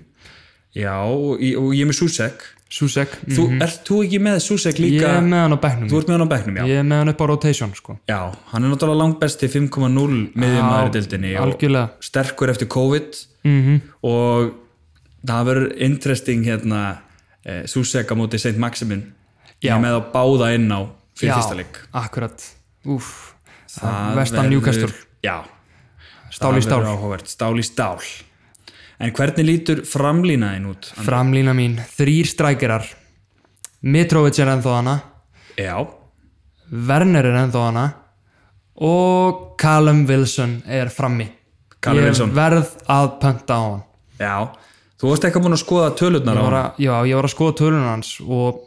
Speaker 1: já, og, í- og ég er með Susek
Speaker 2: Susek, mm.
Speaker 1: þú, ert þú ekki með Susek
Speaker 2: ég
Speaker 1: líka
Speaker 2: er með hann á bekknum
Speaker 1: þú ert með hann á bekknum, já
Speaker 2: ég er með hann upp á rotation sko.
Speaker 1: já, hann er náttúrulega langt besti 5.0 miðjum
Speaker 2: Já,
Speaker 1: aðri dildinni og
Speaker 2: algjörlega
Speaker 1: sterkur eftir COVID
Speaker 2: mm
Speaker 1: og það verður interesting hérna eh, Susek á móti St. Maximin ég
Speaker 2: Já.
Speaker 1: er með að báða inn á fyrir fyrsta leik
Speaker 2: akkurat Úf,
Speaker 1: Það
Speaker 2: vestan
Speaker 1: verður-
Speaker 2: Newcastle,
Speaker 1: já,
Speaker 2: stál
Speaker 1: það
Speaker 2: í
Speaker 1: verður
Speaker 2: stál
Speaker 1: áhugavert, stál í stál en hvernig lítur framlínaðin út?
Speaker 2: framlína mín, þrýr strækirar Mitrovic er ennþá hana
Speaker 1: já,
Speaker 2: Werner er ennþá hana og Callum Wilson er frammi
Speaker 1: Callum
Speaker 2: ég
Speaker 1: Wilson.
Speaker 2: verð að pönta á hann
Speaker 1: já þú varst ekki búin að skoða tölurnar á,
Speaker 2: Ég var að- já, ég var að skoða tölun hans og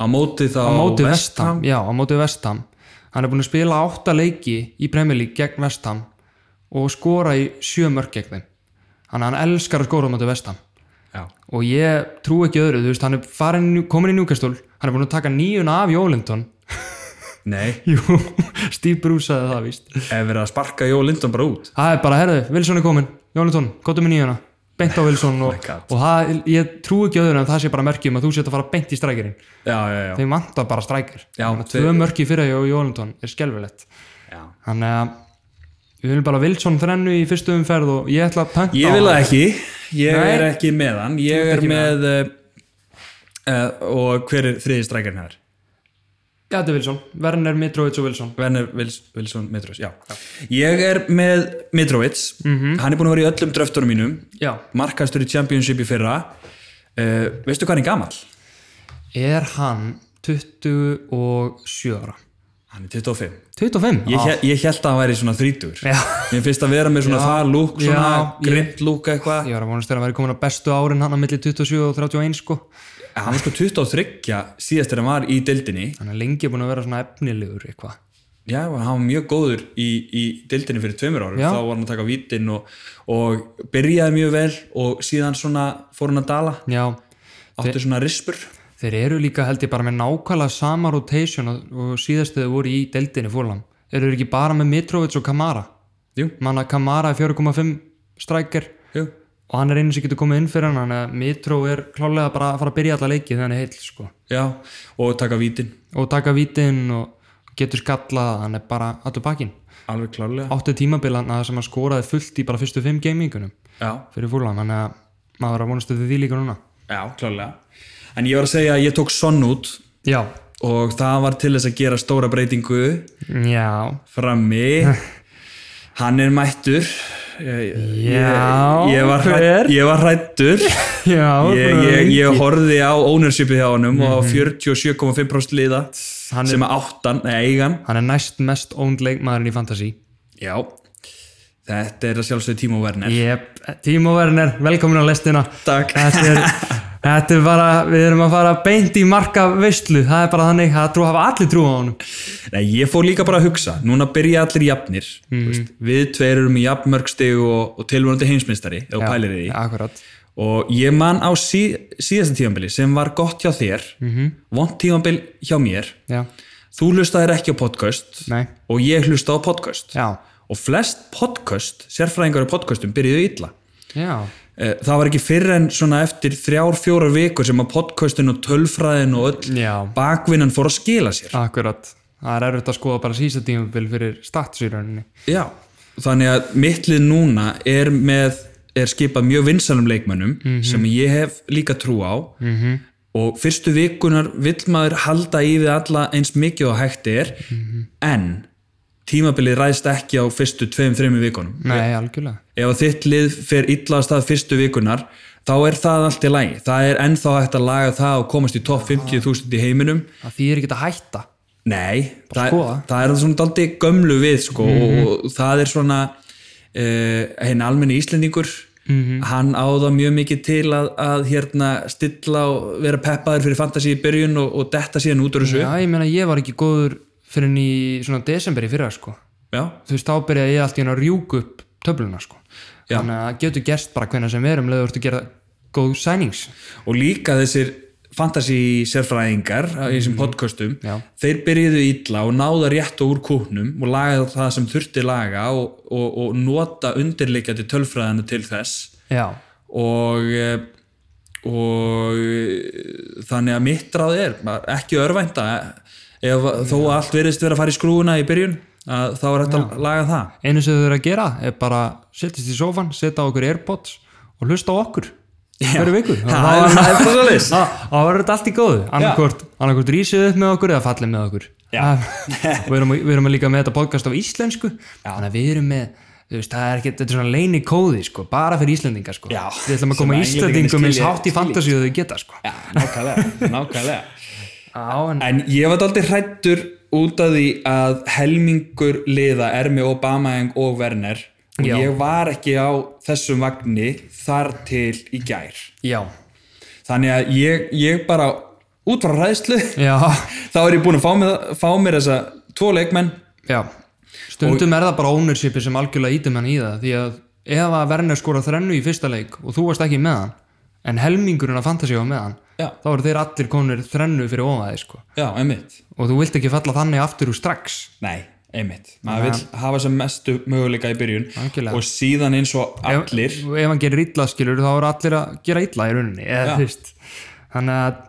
Speaker 1: á móti þá
Speaker 2: á móti
Speaker 1: West Ham.
Speaker 2: Vestham já, á móti Vestham hann er búin að spila átta leiki í Premier League gegn Vestham og skora í sjö mörg gegn þeim hann, hann elskar að skora á móti Vestham
Speaker 1: já,
Speaker 2: og ég trú ekki öðru, þú veist, hann er farin, komin í Newcastle, hann er búin að taka nýjuna af Jólindon
Speaker 1: nei,
Speaker 2: jú, Steve Bruce sagði það víst
Speaker 1: ef verið að sparka Jó Lindon bara út
Speaker 2: það er bara, herðu, Wilson er komin Jólindon, gotum með nýjuna beint á Wilson
Speaker 1: Oh My
Speaker 2: og,
Speaker 1: God.
Speaker 2: og það, ég trú ekki öðru en það sé bara merkjum að þú sétt að fara beint í strækirinn
Speaker 1: já, já, já,
Speaker 2: þeim vantar bara strækir
Speaker 1: Já,
Speaker 2: tvö mörki fyrir að Jólindon er skelvilegt
Speaker 1: já.
Speaker 2: Þannig að við viljum bara Wilson þrennu í fyrstu umferð og ég ætla að pönta
Speaker 1: Ég
Speaker 2: á
Speaker 1: vil
Speaker 2: hann.
Speaker 1: það ekki, ég
Speaker 2: Nei.
Speaker 1: er ekki með hann Ég er
Speaker 2: ekki með
Speaker 1: með uh, uh, og hver er þriði strækjarn hér?
Speaker 2: Já, þetta er Wilson. Werner, Mitrovic og Wilson.
Speaker 1: Werner Wils- Wilson Mitrovic, já. Ég er með Mitrovic hann er búin að vera í öllum dröftunum mínum
Speaker 2: Mhm. Já.
Speaker 1: markastur í Championship í fyrra uh, veistu hvað hann er gamall?
Speaker 2: Er hann 27 ára?
Speaker 1: Hann er 25
Speaker 2: 25?
Speaker 1: Ég, ah. ég held að hann væri svona 30
Speaker 2: Já.
Speaker 1: Mér finnst að vera með svona það lúk svona
Speaker 2: Já, ég-
Speaker 1: grind lúk eitthvað
Speaker 2: Ég var að vonast þegar að vera komin á bestu árin hann á milli 27 og 31 sko.
Speaker 1: Hann var sko 23 síðast þegar hann var í dildinni
Speaker 2: Hann er lengi búin að vera svona efnilegur eitthvað.
Speaker 1: Já, hann var mjög góður í, í dildinni fyrir tveimur árum,
Speaker 2: Já.
Speaker 1: þá var hann að taka vítin og, og byrjaði mjög vel og síðan svona fór hann að dala
Speaker 2: Já,
Speaker 1: áttu svona rispur
Speaker 2: þeir eru líka held ég bara með nákvæmlega sama rotation og, og síðast þegar voru í deildinni fórlam. Eru þeir ekki bara með Mitrovic og Kamara?
Speaker 1: Jú,
Speaker 2: Manna Kamara er 4,5 strækir
Speaker 1: jú,
Speaker 2: og hann er einu sem getur komið inn fyrir hann þannig að Mitró er klálega bara að fara að byrja alla leiki þegar hann er heill sko.
Speaker 1: já og taka vítin,
Speaker 2: og taka vítin og getur skallað hann er bara allur bakinn
Speaker 1: alveg klárlega
Speaker 2: átti tímabilan að sem hann skoraði fullt í bara fyrstu fimm gamingunum
Speaker 1: Já,
Speaker 2: fyrir fúlan þannig að maður er að vonastu því líka núna
Speaker 1: já, klárlega En ég var að segja að ég tók sonn út
Speaker 2: já,
Speaker 1: og það var til þess að gera stóra breytingu
Speaker 2: já,
Speaker 1: frammi Hann er mættur Ég,
Speaker 2: Já,
Speaker 1: ég, ég, var,
Speaker 2: hver?
Speaker 1: hrætt, ég var hrættur
Speaker 2: já
Speaker 1: ég, ég, ég horfði á ownershipið hjá honum og á 47,5% liða
Speaker 2: Hann er-
Speaker 1: sem Mhm. er áttan, nei eigan
Speaker 2: hann er næst mest ónd leikmaðurinn í fantasy
Speaker 1: já, þetta er að sjálfsögðu Tímo Werner
Speaker 2: yep. Tímo Werner, velkomin á lestina
Speaker 1: Takk.
Speaker 2: þetta er, þetta er bara, við erum að fara beint í marka veistlu, það er bara þannig það trú, hafa allir trú á honum
Speaker 1: nei, ég fór líka bara að hugsa, núna byrja allir jafnir mm veist, við tveir erum í jafnmörgstig og, og tilvonandi heimsmyndstari og pælir í því
Speaker 2: Akkurat
Speaker 1: og ég man á sí, síðasta tímanbili sem var gott hjá þér mm -hmm. vond tímanbil hjá mér
Speaker 2: Já,
Speaker 1: þú hlustaðir ekki á podcast
Speaker 2: nei,
Speaker 1: og ég hlusta á podcast
Speaker 2: já,
Speaker 1: og flest podcast, sérfræðingar í podcastum byrjuðu illa
Speaker 2: já,
Speaker 1: Eh, það var ekki fyrr en svona eftir þrjár, fjórar vikur sem að podcastin og tölfræðin og öll
Speaker 2: já,
Speaker 1: bakvinnan fór að skila sér
Speaker 2: akkurat það er erfitt að skoða bara sísta tímabil fyrir stats í rauninni
Speaker 1: Já, þannig að mittlið núna er með er skipað mjög vinsanum leikmönnum sem ég hef líka trú á -hmm. og fyrstu vikunar vill maður halda í við alla eins mikið og hægt er en tímabilið ræðst ekki á fyrstu tveim, þreimur vikunum
Speaker 2: nei, algjörlega
Speaker 1: ef að þitt lið fer illa að stað fyrstu vikunar þá er það allt í lagi það er ennþá hægt að laga það og komast í topp 50.000 í heiminum
Speaker 2: að því er ekki að hætta
Speaker 1: Nei, það,
Speaker 2: skoða. Mhm.
Speaker 1: það er svona daldi gömlu við sko, og það er svona uh, henni almenni Íslendingur
Speaker 2: Mhm.
Speaker 1: hann áða mjög mikið til að, að hérna stilla og vera peppaður fyrir fantasi í byrjun og, og detta síðan út úr þessu
Speaker 2: já, ég meina ég var ekki góður fyrir en í svona desember í fyrra sko
Speaker 1: Já,
Speaker 2: þú veist, þá byrjaði ég allt í henni að rjúka upp töfluna sko
Speaker 1: Já.
Speaker 2: þannig að það getur gerst bara hvenna sem er um leður þú ert að gera góð sænings
Speaker 1: og líka þessir fantasi sérfræðingar í þessum podcastum,
Speaker 2: Já.
Speaker 1: þeir byrjuðu illa og náða rétt og úr kúknum og laga það sem þurfti laga og, og, og nota undirleikjandi tölfræðina til þess
Speaker 2: já,
Speaker 1: og eh, og eh, þannig að mitt ráð er bara ekki örvænta ef, þó að allt verðist vera að fara í skrúuna í byrjun að þá er hægt að laga það
Speaker 2: einu sem þau eru að gera er bara settist í sófan, setja á okkur airpods og hlusta á okkur hverju viku
Speaker 1: það er- það er bara svoleiðis.
Speaker 2: Ná, þá verður þetta allt í góðu annarkvort, annarkvort rísið upp með okkur eða fallið með okkur og við erum, við erum líka með þetta podcast á íslensku þannig að við erum með þú veist, það er ekki, þetta er svona leini kóði sko, bara fyrir íslendingar sko.
Speaker 1: Já.
Speaker 2: við ætlum að koma
Speaker 1: Sem að
Speaker 2: íslendingum
Speaker 1: Englendingarnir
Speaker 2: eins
Speaker 1: skilja-
Speaker 2: hátt í fantasíu þau geta sko.
Speaker 1: Já, nákvæmlega, nákvæmlega.
Speaker 2: á, en,
Speaker 1: en ég var aldrei hrættur út af því að helmingur liða er með Obama og Werner og
Speaker 2: Já.
Speaker 1: ég var ekki á þessum vagni þar til í gær
Speaker 2: já,
Speaker 1: þannig að ég, ég bara út frá hræðslu
Speaker 2: já,
Speaker 1: þá er ég búin að fá mér, fá mér þessa tvo leikmenn
Speaker 2: já stundum er það bara ownershipi sem algjörlega ítum hann í það því að ef að Werner skora þrennu í fyrsta leik og þú varst ekki með hann en helmingurinn að fantasíu var með hann
Speaker 1: Já.
Speaker 2: þá eru þeir allir konur þrennu fyrir ofaði sko.
Speaker 1: já, einmitt
Speaker 2: og þú vilt ekki falla þannig aftur úr strax
Speaker 1: nei, einmitt, maður vill hafa sem mestu möguleika í byrjun
Speaker 2: Algjörlega.
Speaker 1: og síðan eins og allir
Speaker 2: ef, ef hann gerir illa skilur þá eru allir að gera illa í rauninni eða, þú veist. þannig að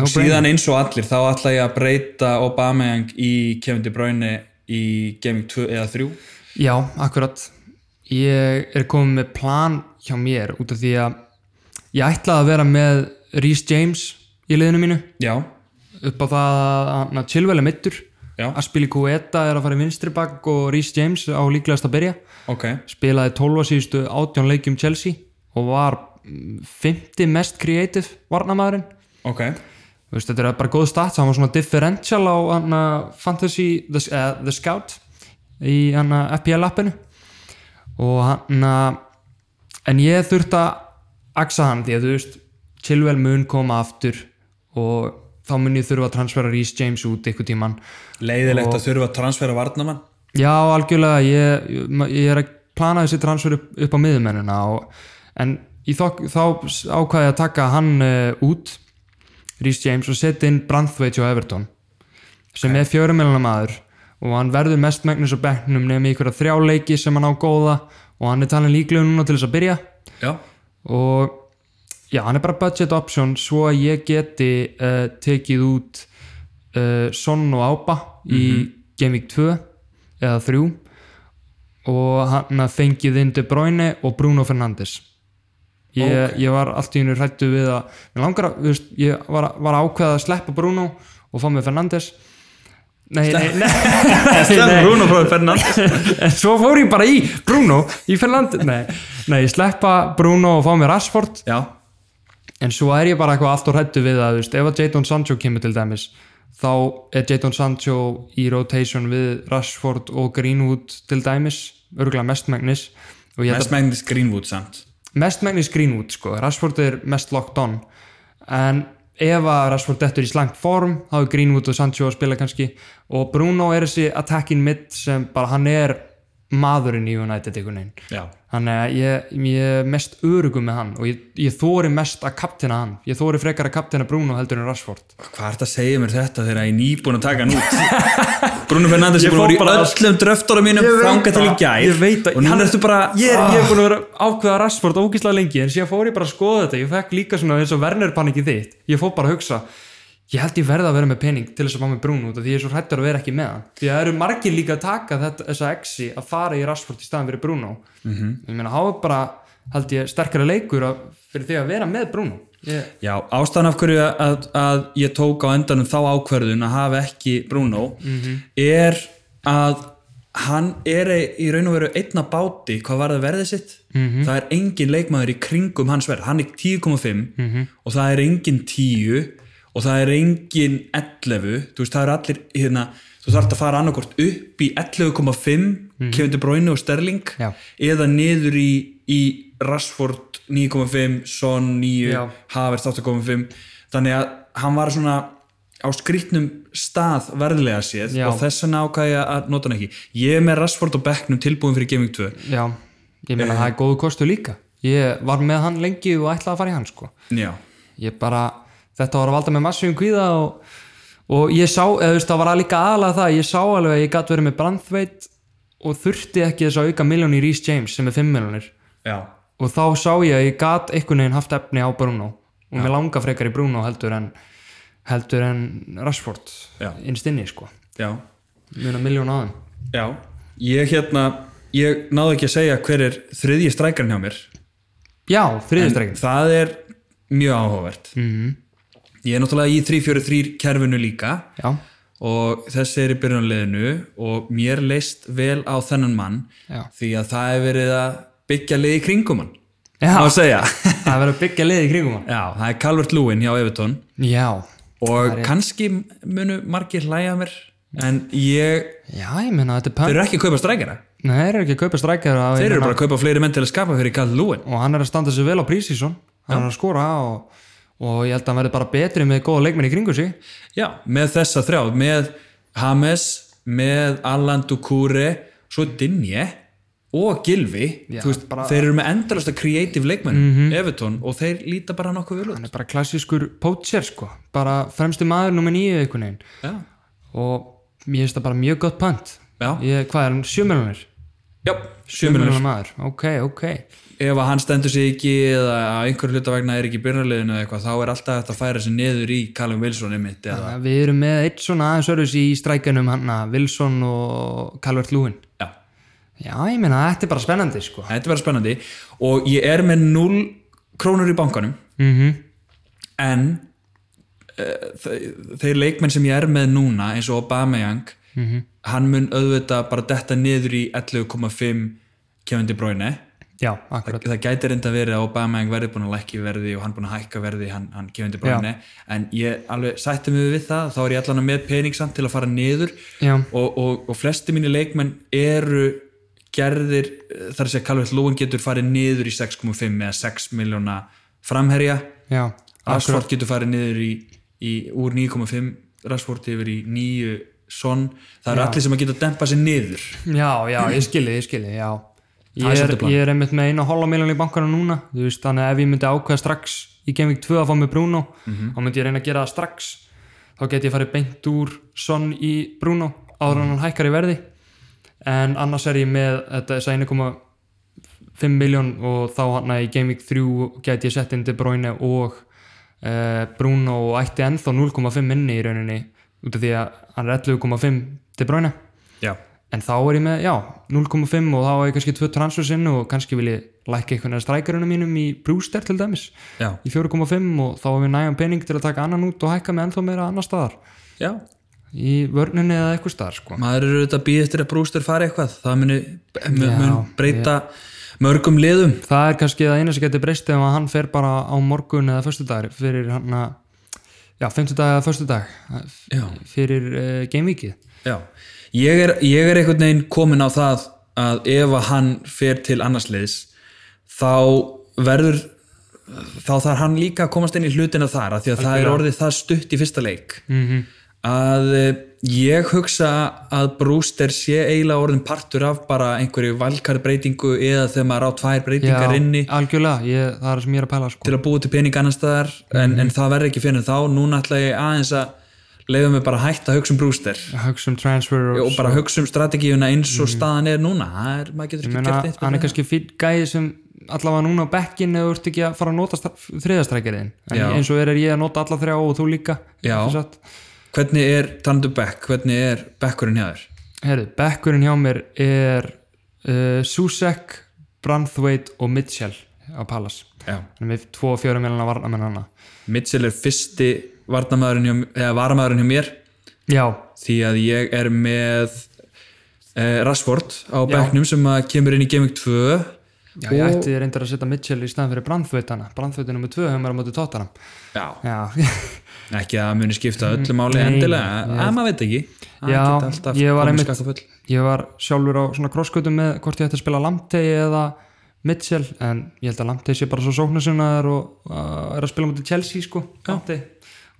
Speaker 2: no
Speaker 1: síðan eins og allir, þá ætla ég að breyta Obameyang í Kevin De Bruyne í Gaming 2 eða 3
Speaker 2: brain. já, akkurat ég er komið með plan hjá mér út af því að ég ætlaði að vera með Rhys James í liðinu mínu
Speaker 1: já,
Speaker 2: upp á það að hann að Chilwell er mittur
Speaker 1: Já.
Speaker 2: Aspili Kueta er að fara í vinstri bakk og Rhys James á líklegast að byrja
Speaker 1: ok
Speaker 2: spilaði 12 síðustu 18 leikjum Chelsea og var 50 mest creative varnamæðurinn
Speaker 1: ok,
Speaker 2: Þú veist, þetta er bara góð stats, hann var svona differential á hann Fantasy the, uh, the Scout í hann FPL appinu og hann en ég þurfti að aksa hann því að þú veist Chilwell mun koma aftur og þá mun ég þurfa að transfera Reece James út ykkur tíman
Speaker 1: leiðilegt að þurfa að transfera varnamann
Speaker 2: já algjörlega ég, ég- ég er að plana þessi transfer upp, upp á miðumennina og, en ég þok, þá ákvaði ég að taka hann uh, út Reece James og setja inn Branthwaite hjá Everton sem er fjörumilana maður og hann verður mest megnus á bekknum nefnum í ykkur þrjá leiki sem hann á góða og hann er talin líklega núna til þess að byrja
Speaker 1: já,
Speaker 2: og já, hann er bara budget option svo að ég geti uh, tekið út uh, Son og Ába í Game Week 2 eða 3 og hann að fengið inn De Bruyne og Bruno Fernandes ég, ég var allt í hennu hrættu við að mér langar að, þú veist, ég var, var að ákveða að sleppa Bruno og fá með Fernandes Nei, nei, nei, nei,
Speaker 1: Bruno frá Fernandes
Speaker 2: en svo fór ég bara í Bruno í Fernandes, nei, nei, ég sleppa Bruno og fá mér Rashford
Speaker 1: já,
Speaker 2: en svo er ég bara eitthvað allt og hrættu við að þú veist, ef að Jadon Sancho kemur til dæmis þá er Jadon Sancho í rotation við Rashford og Greenwood til dæmis, örgulega mestmægnis og ég held
Speaker 1: mest megnis Greenwood samt
Speaker 2: að mestmægnis Greenwood sko, Rashford er mest locked on en ef að Rashford dettur í slangt form þá er Greenwood og Sancho að spila kannski og Bruno er þessi attacking mid sem bara hann er maðurinn í United einhvern veginn
Speaker 1: já,
Speaker 2: Þannig að ég, ég er mest örugum með hann og ég, ég þóri mest að kaptina hann. Ég þóri frekar að kaptina Bruno heldur en Rashford.
Speaker 1: hvað er þetta að segja mér þetta þegar ég er nýbúin að taka hann út Bruno Fernandes er
Speaker 2: Ég
Speaker 1: búin að
Speaker 2: fór
Speaker 1: vera
Speaker 2: bara
Speaker 1: í
Speaker 2: að-
Speaker 1: öllum dröftunum mínum
Speaker 2: Ég veit
Speaker 1: þanga til í
Speaker 2: það,
Speaker 1: gær
Speaker 2: ég veit það.
Speaker 1: og núna
Speaker 2: Hann-
Speaker 1: ertu bara
Speaker 2: Ég er, ég er búin að vera ákveða Rashford ógíslega lengi en síðan fór ég bara að skoða þetta. Ég fekk líka svona eins og Werner panikið þitt. Ég fór bara að hugsa, ég held ég verða að vera með pening til þess að fá mig brún út af því ég er svo hrættur að vera ekki með hann því að það eru margir líka að taka þetta, þessa exi að fara í Rashford í staðan fyrir Bruno -hmm.
Speaker 1: Mhm.
Speaker 2: ég meina hafa bara held ég sterkara leikur að, fyrir því að vera með Bruno ég,
Speaker 1: Já, ástæðan af hverju að, að ég tók á endanum þá ákverðun að hafa ekki Bruno er að hann er ei- í raun og veru einna báti hvað var það verðið sitt það er engin leikmaður í kringum hans verð hann er 10,5 og það er engin 10 og það er engin 11 þú veist það er allir hérna þú þarf að fara annarkort upp í 11,5 kefndi bróinu og sterling
Speaker 2: Já.
Speaker 1: eða niður í, í Rashford 9,5 Son 9
Speaker 2: Já.
Speaker 1: Havert 8.5 þannig að hann var svona á skrýtnum stað verðlega séð
Speaker 2: Já.
Speaker 1: og þess vegna ákvæði að nota hann ekki ég er með Rashford og Becknum tilbúin fyrir Gaming 2
Speaker 2: já, ég meina það er góðu kostu líka ég var með hann lengi og ætlaði að fara í hann sko.
Speaker 1: já,
Speaker 2: ég bara, þetta var að valda með massíum kvíða og, og ég sá, eða þú veist, það var að líka aðalega það ég sá alveg að ég gat verið með Brandtveit og þurfti ekki þess að auka miljón í Rhys James sem er 5 miljónir
Speaker 1: já,
Speaker 2: og þá sá ég að ég gat einhvern veginn haft efni á Bruno og mér langar frekar í Bruno heldur en heldur en Rashford
Speaker 1: Já.
Speaker 2: innst inni sko,
Speaker 1: já,
Speaker 2: muna miljón aðeim
Speaker 1: já ég hérna, ég náðu ekki að segja hver er þriðji strækarinn hjá mér
Speaker 2: já, þriðistrækin
Speaker 1: það er mjög áhugavert mm -hmm. ég er náttúrulega í 3-4-3 kerfinu líka
Speaker 2: já,
Speaker 1: og þessi er í byrjunarliðinu og mér leist vel á þennan mann
Speaker 2: Já.
Speaker 1: því að það er verið að byggja lið í kringum hann
Speaker 2: Já.
Speaker 1: má segja
Speaker 2: það verður að byggja liði í kringum hann
Speaker 1: Já, það er Calvert Lúin hjá Evertón
Speaker 2: já,
Speaker 1: og kannski munu margir hlæja að mér en ég,
Speaker 2: já, ég meina þetta
Speaker 1: þeir
Speaker 2: er pönn
Speaker 1: eru ekki að kaupa strækjara
Speaker 2: Nei, þeir eru ekki að kaupa strækjar
Speaker 1: þeir eru bara að kaupa fleiri menn til að skapa fyrir Calvert Lúin
Speaker 2: og hann er að standa sér vel á prísísson hann er að skora og, og ég held að hann verði bara betri með góða leikmenn í kringu sig
Speaker 1: Já, með þessa þrjá, með Hames, með Alan Dukure, svo Dinje og Gilvi
Speaker 2: Já,
Speaker 1: Þú veist,
Speaker 2: bara- Mhm.
Speaker 1: þeir eru með endalasta creative leikmenn Evertón og þeir líta bara nokkuð vel út
Speaker 2: hann er bara klassískur pótsér sko bara fremsti maður nummer nýju einhvern veginn
Speaker 1: Já,
Speaker 2: og ég finnst það bara mjög gott pönt
Speaker 1: Já.
Speaker 2: ég, hvað er hann, sjömilunir?
Speaker 1: já sjömilur
Speaker 2: maður, ok, ok
Speaker 1: ef að hann stendur sig ekki eða að einhver hluta vegna er ekki í byrjarleginu eða eitthvað þá er alltaf hægt að færa sig niður í Callum Wilson einmitt eða
Speaker 2: Þannig að við erum með eitt svona aðeins örðus í strækjanum hann að Wilson og Calvert Lúin
Speaker 1: já.
Speaker 2: já, ég meina, þetta er bara spennandi sko
Speaker 1: þetta verður spennandi og ég er með 0 krónur í bankanum
Speaker 2: mm
Speaker 1: Mhm. en uh, þeir leikmenn sem ég er með núna eins og Aubameyang hann mun auðvitað bara detta niður í 11,5 Kevin De Bruyne
Speaker 2: já, akkurat
Speaker 1: það gæti reynda verið að Aubameyang verði búin að lækki verði og hann búin að hækka verði hann, hann Kevin De Bruyne en ég alveg sætti mig við það þá er ég allan með pening samt til að fara niður
Speaker 2: já,
Speaker 1: og, og, og flesti mínir leikmenn eru gerðir eh, þar að segja Calvert Lúin getur farið niður í 6,5 eða 6 miljóna framherja
Speaker 2: já,
Speaker 1: Rashford getur farið niður í, í úr 9,5 Rashford yfir í 9 Son, það eru allir sem að geta dempa sér niður
Speaker 2: já, já, ég skilji, ég skilji, já
Speaker 1: Það er
Speaker 2: ég er,
Speaker 1: svolítið plan.
Speaker 2: ég er einmitt með eina hólamiljón í bankanum núna þú veist, þannig að ef ég myndi ákveða strax í Gemvík 2 að fá með Bruno
Speaker 1: Mhm.
Speaker 2: þá myndi ég reyna að gera það strax þá get ég farið beint úr Son í Bruno áður
Speaker 1: Mhm.
Speaker 2: en hann hækkar í verði en annars er ég með þetta þess að 1,5 miljón og þá hann að í Gaming 3 get ég sett inn De Bruyne og uh, Bruno og ætti ennþá 0,5 minni í rauninni út af því að hann er 11,5 De Bruyne
Speaker 1: Já,
Speaker 2: en þá er ég með, já, 0,5 og þá er ég kannski tvö transfers inn og kannski vil ég lækka einhvern veginn strækjurunum mínum í brúster til dæmis,
Speaker 1: já,
Speaker 2: í 4,5 og þá er við nægjum pening til að taka annan út og hækka með ennþá meira annar staðar
Speaker 1: já
Speaker 2: í vörninni eða eitthvað staðar sko.
Speaker 1: maður eru auðvitað að býða eftir að brústur fari eitthvað það muni, mun,
Speaker 2: Já,
Speaker 1: mun breyta mörgum liðum
Speaker 2: það er kannski það eina sem getur breyst ef að hann fer bara á morgun eða föstudag fyrir hann að já, 50 dag eða föstudag
Speaker 1: Já.
Speaker 2: fyrir uh, gamevikið
Speaker 1: Já, ég er, ég er einhvern veginn komin á það að ef að hann fer til annars liðs þá verður þá þarf hann líka að komast inn í hlutina þar af því að það er orðið það stutt í fyrsta leik -hmm. að eh, ég hugsa að Brewster sé eiginlega orðin partur af bara einhverju valkarbreytingu eða þegar maður á tvær breytingar inni
Speaker 2: algjörlega, ég, það er sem ég er að pæla sko.
Speaker 1: til að búa til pening annar staðar
Speaker 2: Mhm.
Speaker 1: en, en það verður ekki fyrir en þá, núna ætla ég aðeins að leifa mig bara að hætta að hugsa um Brewster
Speaker 2: Hugsum transfer og
Speaker 1: og bara hugsa um strategíuna eins og staðan er núna það er, maður getur ekki
Speaker 2: Menna,
Speaker 1: gert neitt
Speaker 2: Mhm. hann
Speaker 1: með
Speaker 2: er kannski fýtt gæði sem allavega núna á bekkin eða þú ert ekki að fara að nota þriðastrækjariðin en
Speaker 1: Já.
Speaker 2: eins og er, er ég að nota alla þrjá og þú líka
Speaker 1: Já.
Speaker 2: Ekki satt?
Speaker 1: Hvernig er, talandu bekk, hvernig er bekkurinn hjá þér?
Speaker 2: Herru, bekkurinn hjá mér er uh, Susek, Branthwaite og Mitchell á Palace
Speaker 1: Já.
Speaker 2: Þannig með tvo og fjórum mjölana varnamenn hana
Speaker 1: Mitchell er fyrsti varnamaðurinn hjá, eða varamaðurinn hjá mér
Speaker 2: Já,
Speaker 1: því að ég er með e, Rashford á bekknum sem að kemur inn í Gaming 2
Speaker 2: já ég ætti reyndar að setja Mitchell í staðan fyrir Branthwaite hana Branthwaite er nummer tvö hefur mér á móti tóttanam
Speaker 1: Já,
Speaker 2: Já,
Speaker 1: ekki að það muni skipta öllu máli
Speaker 2: Mm, Nei,
Speaker 1: endilega, að maður veit ekki Það
Speaker 2: Já,
Speaker 1: geta alltaf
Speaker 2: ég var
Speaker 1: komið
Speaker 2: einmitt-
Speaker 1: skakk á full.
Speaker 2: ég var sjálfur á svona crosscutum með hvort ég ætti að spila Lamptey eða Mitchell en ég held að Lamptey sé bara svo sóknarsinnaður og uh, er að spila á móti Chelsea sko Lamptey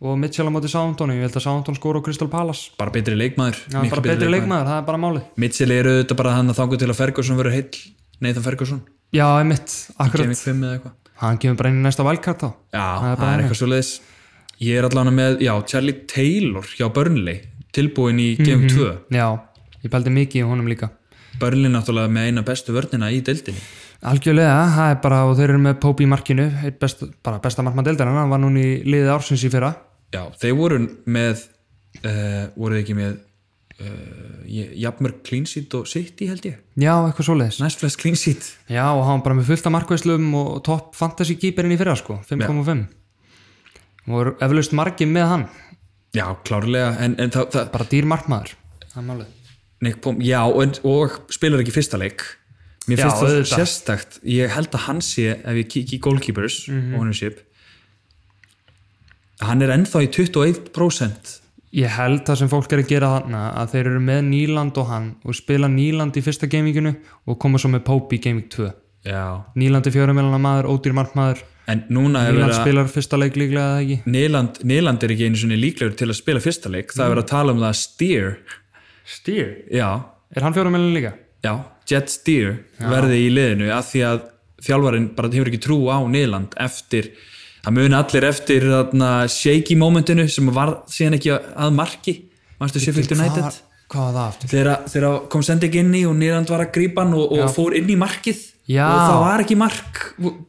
Speaker 2: og Mitchell á móti Southampton ég held að Southampton skóra á Crystal Palace
Speaker 1: bara betri leikmaður
Speaker 2: Já,
Speaker 1: miklu
Speaker 2: bara betri leikmaður, það er bara málið
Speaker 1: Mitchell eru auðvitað bara hann að þangu til að Ferguson verður heill Nathan Ferguson,
Speaker 2: Já, einmitt, akkurat
Speaker 1: Gaming 5 eða eitthvað
Speaker 2: Hann kemur bara inn í næsta valkart þá
Speaker 1: Já,
Speaker 2: Það er
Speaker 1: það, er
Speaker 2: bara þannig.
Speaker 1: eitthvað svo leiðis Ég er allavega með, já, Charlie Taylor hjá Burnley, tilbúin í
Speaker 2: Mhm.
Speaker 1: Gaming
Speaker 2: Já, ég pældi mikið í honum líka
Speaker 1: 2 Burnley náttúrulega með eina bestu vörnina í deildinni
Speaker 2: Algjörlega, það er bara og þeir eru með Pope í markinu einn best, bara besta markmann deildarinn, hann var núna í liðið ársins í fyrra
Speaker 1: Já, þeir voru með uh, voru þeir ekki með uh, jafnmörg clean sheet og city held ég,
Speaker 2: Já, eitthvað svoleiðis
Speaker 1: næst flest clean sheet
Speaker 2: Já, og hann var bara með fullt af markvæslum og topp fantasy keeperinn í fyrra sko, 5.5 og voru eflaust margir með hann
Speaker 1: Já, klárlega, en, en það, það
Speaker 2: bara dýr markmaður Það er málið
Speaker 1: Nick Pom, já, og, og spilar ekki fyrsta leik mér
Speaker 2: Já,
Speaker 1: finnst það
Speaker 2: auðvitað.
Speaker 1: sérstakt ég held að hann sé, ef ég kík í goalkeepers
Speaker 2: Mhm.
Speaker 1: ownership hann er ennþá í 21%
Speaker 2: Ég held það sem fólk er að gera þarna að þeir eru með Nýland og hann og spila Nýland í fyrsta gaminginu og koma svo með Pope í gaming 2
Speaker 1: já.
Speaker 2: Nýland er fjóramélana maður, ódýr markmaður
Speaker 1: en núna er verið
Speaker 2: Nýland
Speaker 1: að
Speaker 2: spilar fyrsta leik líklega eða ekki
Speaker 1: Nýland, Nýland er ekki einu sinni líklegur til að spila fyrsta leik það er verið að tala um það að steer
Speaker 2: Stýr?
Speaker 1: já,
Speaker 2: Er hann fjóramélana líka?
Speaker 1: já, jet steer verði í liðinu að því að þjálfarinn bara hefur ekki trú á Nýland eftir það muni allir eftir þarna, shaky momentinu sem var síðan ekki að- að marki mannstu Sheffield United
Speaker 2: Hvað, hvað var það aftur?
Speaker 1: þegar, þegar kom sending inn í og Nýland var að grípa hann og, og fór inn í markið
Speaker 2: Já.
Speaker 1: og það var ekki mark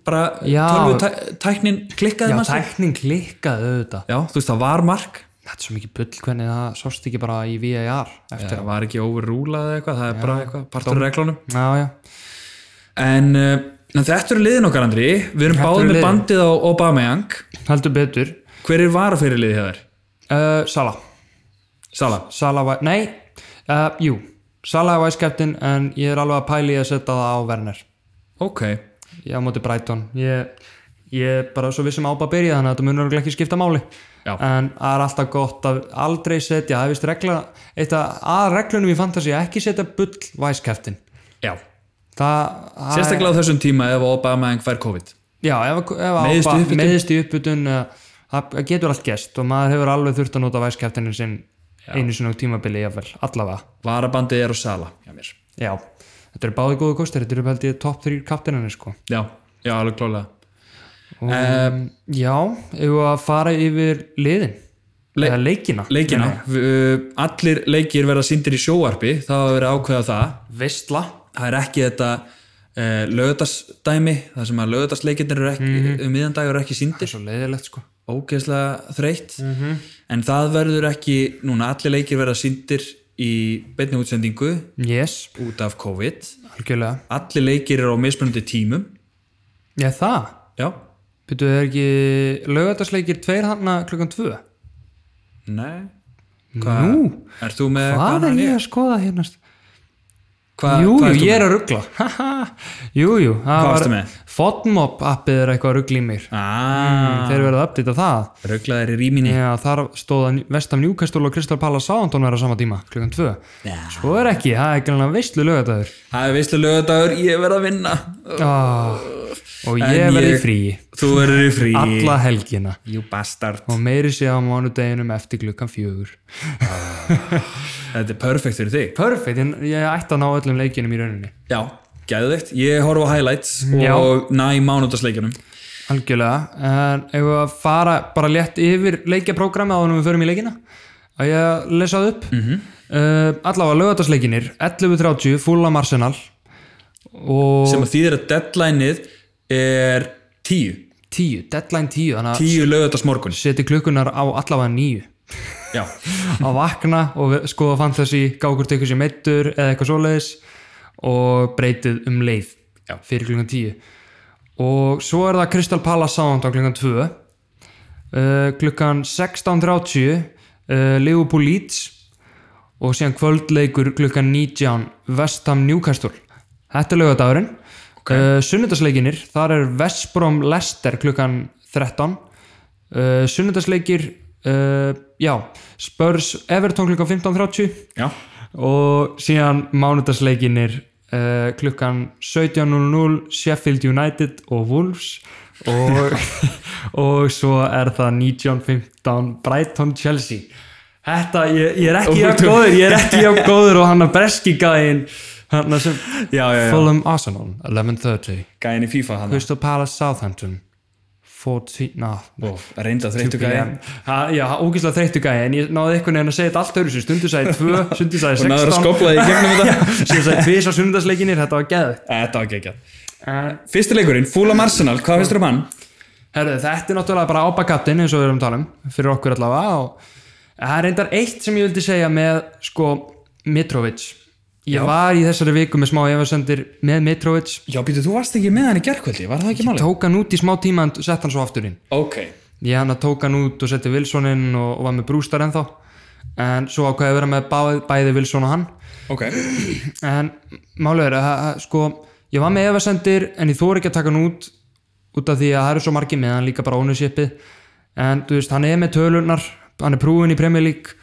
Speaker 1: bara
Speaker 2: Já.
Speaker 1: tölvutæknin klikkaði
Speaker 2: Já,
Speaker 1: mannstu
Speaker 2: tækning klikkaði auðvitað
Speaker 1: já, þú veist það var mark
Speaker 2: Þetta er svo mikið bull hvernig það sást ekki bara í VAR eftir
Speaker 1: það var ekki overrúlað eða eitthvað, það er bara eitthvað partur af reglunum
Speaker 2: Já, já,
Speaker 1: en, uh, en þetta eru liðin okkar Andri við erum
Speaker 2: Þetta
Speaker 1: báð
Speaker 2: eru
Speaker 1: með
Speaker 2: liðin.
Speaker 1: bandið á Obameyang
Speaker 2: heldur betur
Speaker 1: hver er varafyrirlið hjá þér?
Speaker 2: uh, Sala
Speaker 1: Sala
Speaker 2: Sala var, nei, uh, jú Sala var skeptin en ég er alveg að pæli að setja það á Werner
Speaker 1: ok,
Speaker 2: Ég á móti Brighton Ég, ég er bara svo vissum ába að byrja þannig að þetta munur örugglega ekki skipta máli
Speaker 1: Já.
Speaker 2: En það er alltaf gott að aldrei setja Það er vist regla Eitt að, að reglunum í fantasy að ekki setja bull væskæftin
Speaker 1: já
Speaker 2: Það, það er-
Speaker 1: sérstaklega á þessum tíma ef Obameyang fær COVID
Speaker 2: Já, ef, ef
Speaker 1: Meiðist í
Speaker 2: ába,
Speaker 1: uppbytun.
Speaker 2: meðist í uppbytun eh, Það það getur allt gest og maður hefur alveg þurft að nota væskæftinin sinn einu sinni á tímabili jafnvel, allavega
Speaker 1: varabandið er á Sala hjá mér
Speaker 2: Já, þetta eru báði góðu kostir Þetta eru held ég topp 3 kaptinanir sko
Speaker 1: já, já alveg klálega
Speaker 2: og, um, Já, ef við að fara yfir liðin
Speaker 1: Le-
Speaker 2: eða leikina
Speaker 1: leikina, uh, allir leikir verða sýndir í sjóarpi, það hafa verið að ákveða það
Speaker 2: Vistla
Speaker 1: það er ekki þetta uh, lögðarsdæmi, það sem að lögðarsleikinir eru ekki,
Speaker 2: Mhm.
Speaker 1: um miðjandag eru ekki
Speaker 2: Það
Speaker 1: sýndir
Speaker 2: er svo leiðilegt sko
Speaker 1: ógeðslega þreytt
Speaker 2: Mhm.
Speaker 1: en það verður ekki, núna allir leikir verða sýndir í beinni útsendingu
Speaker 2: Yes,
Speaker 1: út af COVID
Speaker 2: algjörlega
Speaker 1: allir leikir eru á mismunandi tímum
Speaker 2: Já, það
Speaker 1: já,
Speaker 2: Byrjuðu er ekki lögatarsleikir tveir hana klukkan 2
Speaker 1: nei
Speaker 2: Nú,
Speaker 1: er þú með
Speaker 2: hvað
Speaker 1: annan
Speaker 2: er
Speaker 1: en
Speaker 2: ég að skoða hérna?
Speaker 1: Hva,
Speaker 2: Jú,
Speaker 1: hvað
Speaker 2: jú,
Speaker 1: ert þú
Speaker 2: ég
Speaker 1: með?
Speaker 2: er að ruggla Jú, jú, það
Speaker 1: Hvað
Speaker 2: var
Speaker 1: varstu með?
Speaker 2: Fodmop appið er eitthvað að ruggla í mér
Speaker 1: ah,
Speaker 2: Þeir verða að uppdita það
Speaker 1: rugglaðir í rýminni
Speaker 2: Já, þar stóða Vestam Newcastle og Crystal Palace Sáandón vera á sama tíma, klukkan 2 Svo er ekki, það er gæmlega veistlu lögataður
Speaker 1: það er veistlu lögadagur, ég verð að vinna
Speaker 2: oh, Og ég
Speaker 1: En
Speaker 2: verði
Speaker 1: ég-
Speaker 2: í fríi
Speaker 1: þú verður í frí
Speaker 2: Alla helgina
Speaker 1: you bastard
Speaker 2: Og meiri sé á mánudeginum eftir klukkan fjögur
Speaker 1: þetta er perfekt fyrir þig
Speaker 2: Perfect, en ég ætti að ná öllum leikinum í rauninni
Speaker 1: já, gæðveikt, ég horf á highlights
Speaker 2: Já.
Speaker 1: og næ mánudagsleikjunum
Speaker 2: Algjörlega, en ef við að fara bara létt yfir leikjaprógrammi áður en við förum í leikina að ég að lesa það upp
Speaker 1: Mhm.
Speaker 2: mm -hmm. uh, allavega lögatarsleikinir 11.30 Fulham Arsenal og
Speaker 1: sem að þýðir að deadlineið er tíu
Speaker 2: tíu, deadline tíu þannig að
Speaker 1: tíu lögðast morgun
Speaker 2: seti klukkunar á allavega nýju
Speaker 1: já,
Speaker 2: að vakna og ve- skoða fantasy gá hvort ykkur sem meittur eða eitthvað svoleiðis og breytið um leið
Speaker 1: Já.
Speaker 2: fyrir klukkan 10 og svo er það Crystal Palace Sound á klukkan 2 uh, klukkan 16.30 uh, Liverpool Leeds og síðan kvöldleikur klukkan 19 Vestham Newcastle þetta er lögadagurinn okay. uh, sunnudagsleikinir, þar er Vestbrom Leicester klukkan 13 uh, sunnudagsleikir uh, já, Spurs Everton klukkan 15.30
Speaker 1: já,
Speaker 2: og síðan mánudagsleikinir uh, klukkan 17.00 Sheffield United og Wolves og, og svo er það 19.15 Brighton Chelsea Þetta, ég, ég er ekki jafn góður ég er ekki jafn góður og hann að breski gæinn hann að sem
Speaker 1: já, já, já.
Speaker 2: Fulham Arsenal 11.30
Speaker 1: gæin í FIFA hann
Speaker 2: Crystal Palace Southampton ah, 14, na,
Speaker 1: reynda þreyttu gæin
Speaker 2: Ha, já, ógíslega þreyttu gæi en ég náði einhvern veginn að segja þetta allt öðru sér stundu sagði 2, stundu sagði
Speaker 1: og
Speaker 2: 16
Speaker 1: náður að skopla því gegnum þetta
Speaker 2: sem sagði tvís á sunnundagsleikinir, þetta var geðvægt
Speaker 1: þetta var geggjað fyrsti leikurinn, Fulham Arsenal, hvað finnst þér um hann?
Speaker 2: Herðu, þetta er náttúrulega bara ábakattin eins og við erum að tala um fyrir okkur allavega og það er reyndar eitt sem ég vildi segja með sko Mitrovic ég var í þessari viku með smá efasendir með Mitrovic
Speaker 1: já, býtu, þú varst ekki með hann í gerkvöldi, var það ekki málið?
Speaker 2: tók hann út í smá tíma en sett hann svo aftur inn
Speaker 1: ok,
Speaker 2: ég hann að tók hann út og setti Wilson inn og, og var með Brústar ennþá en svo ákvaði ég að vera með bæði, bæði Wilson og hann
Speaker 1: ok
Speaker 2: en málið er að, að sko, ég var með efasendir en ég þóri ekki að taka hann út út af því að það eru svo margir með hann líka bara ownershipið en þú veist, hann er með tölunar hann er prúin í Premier League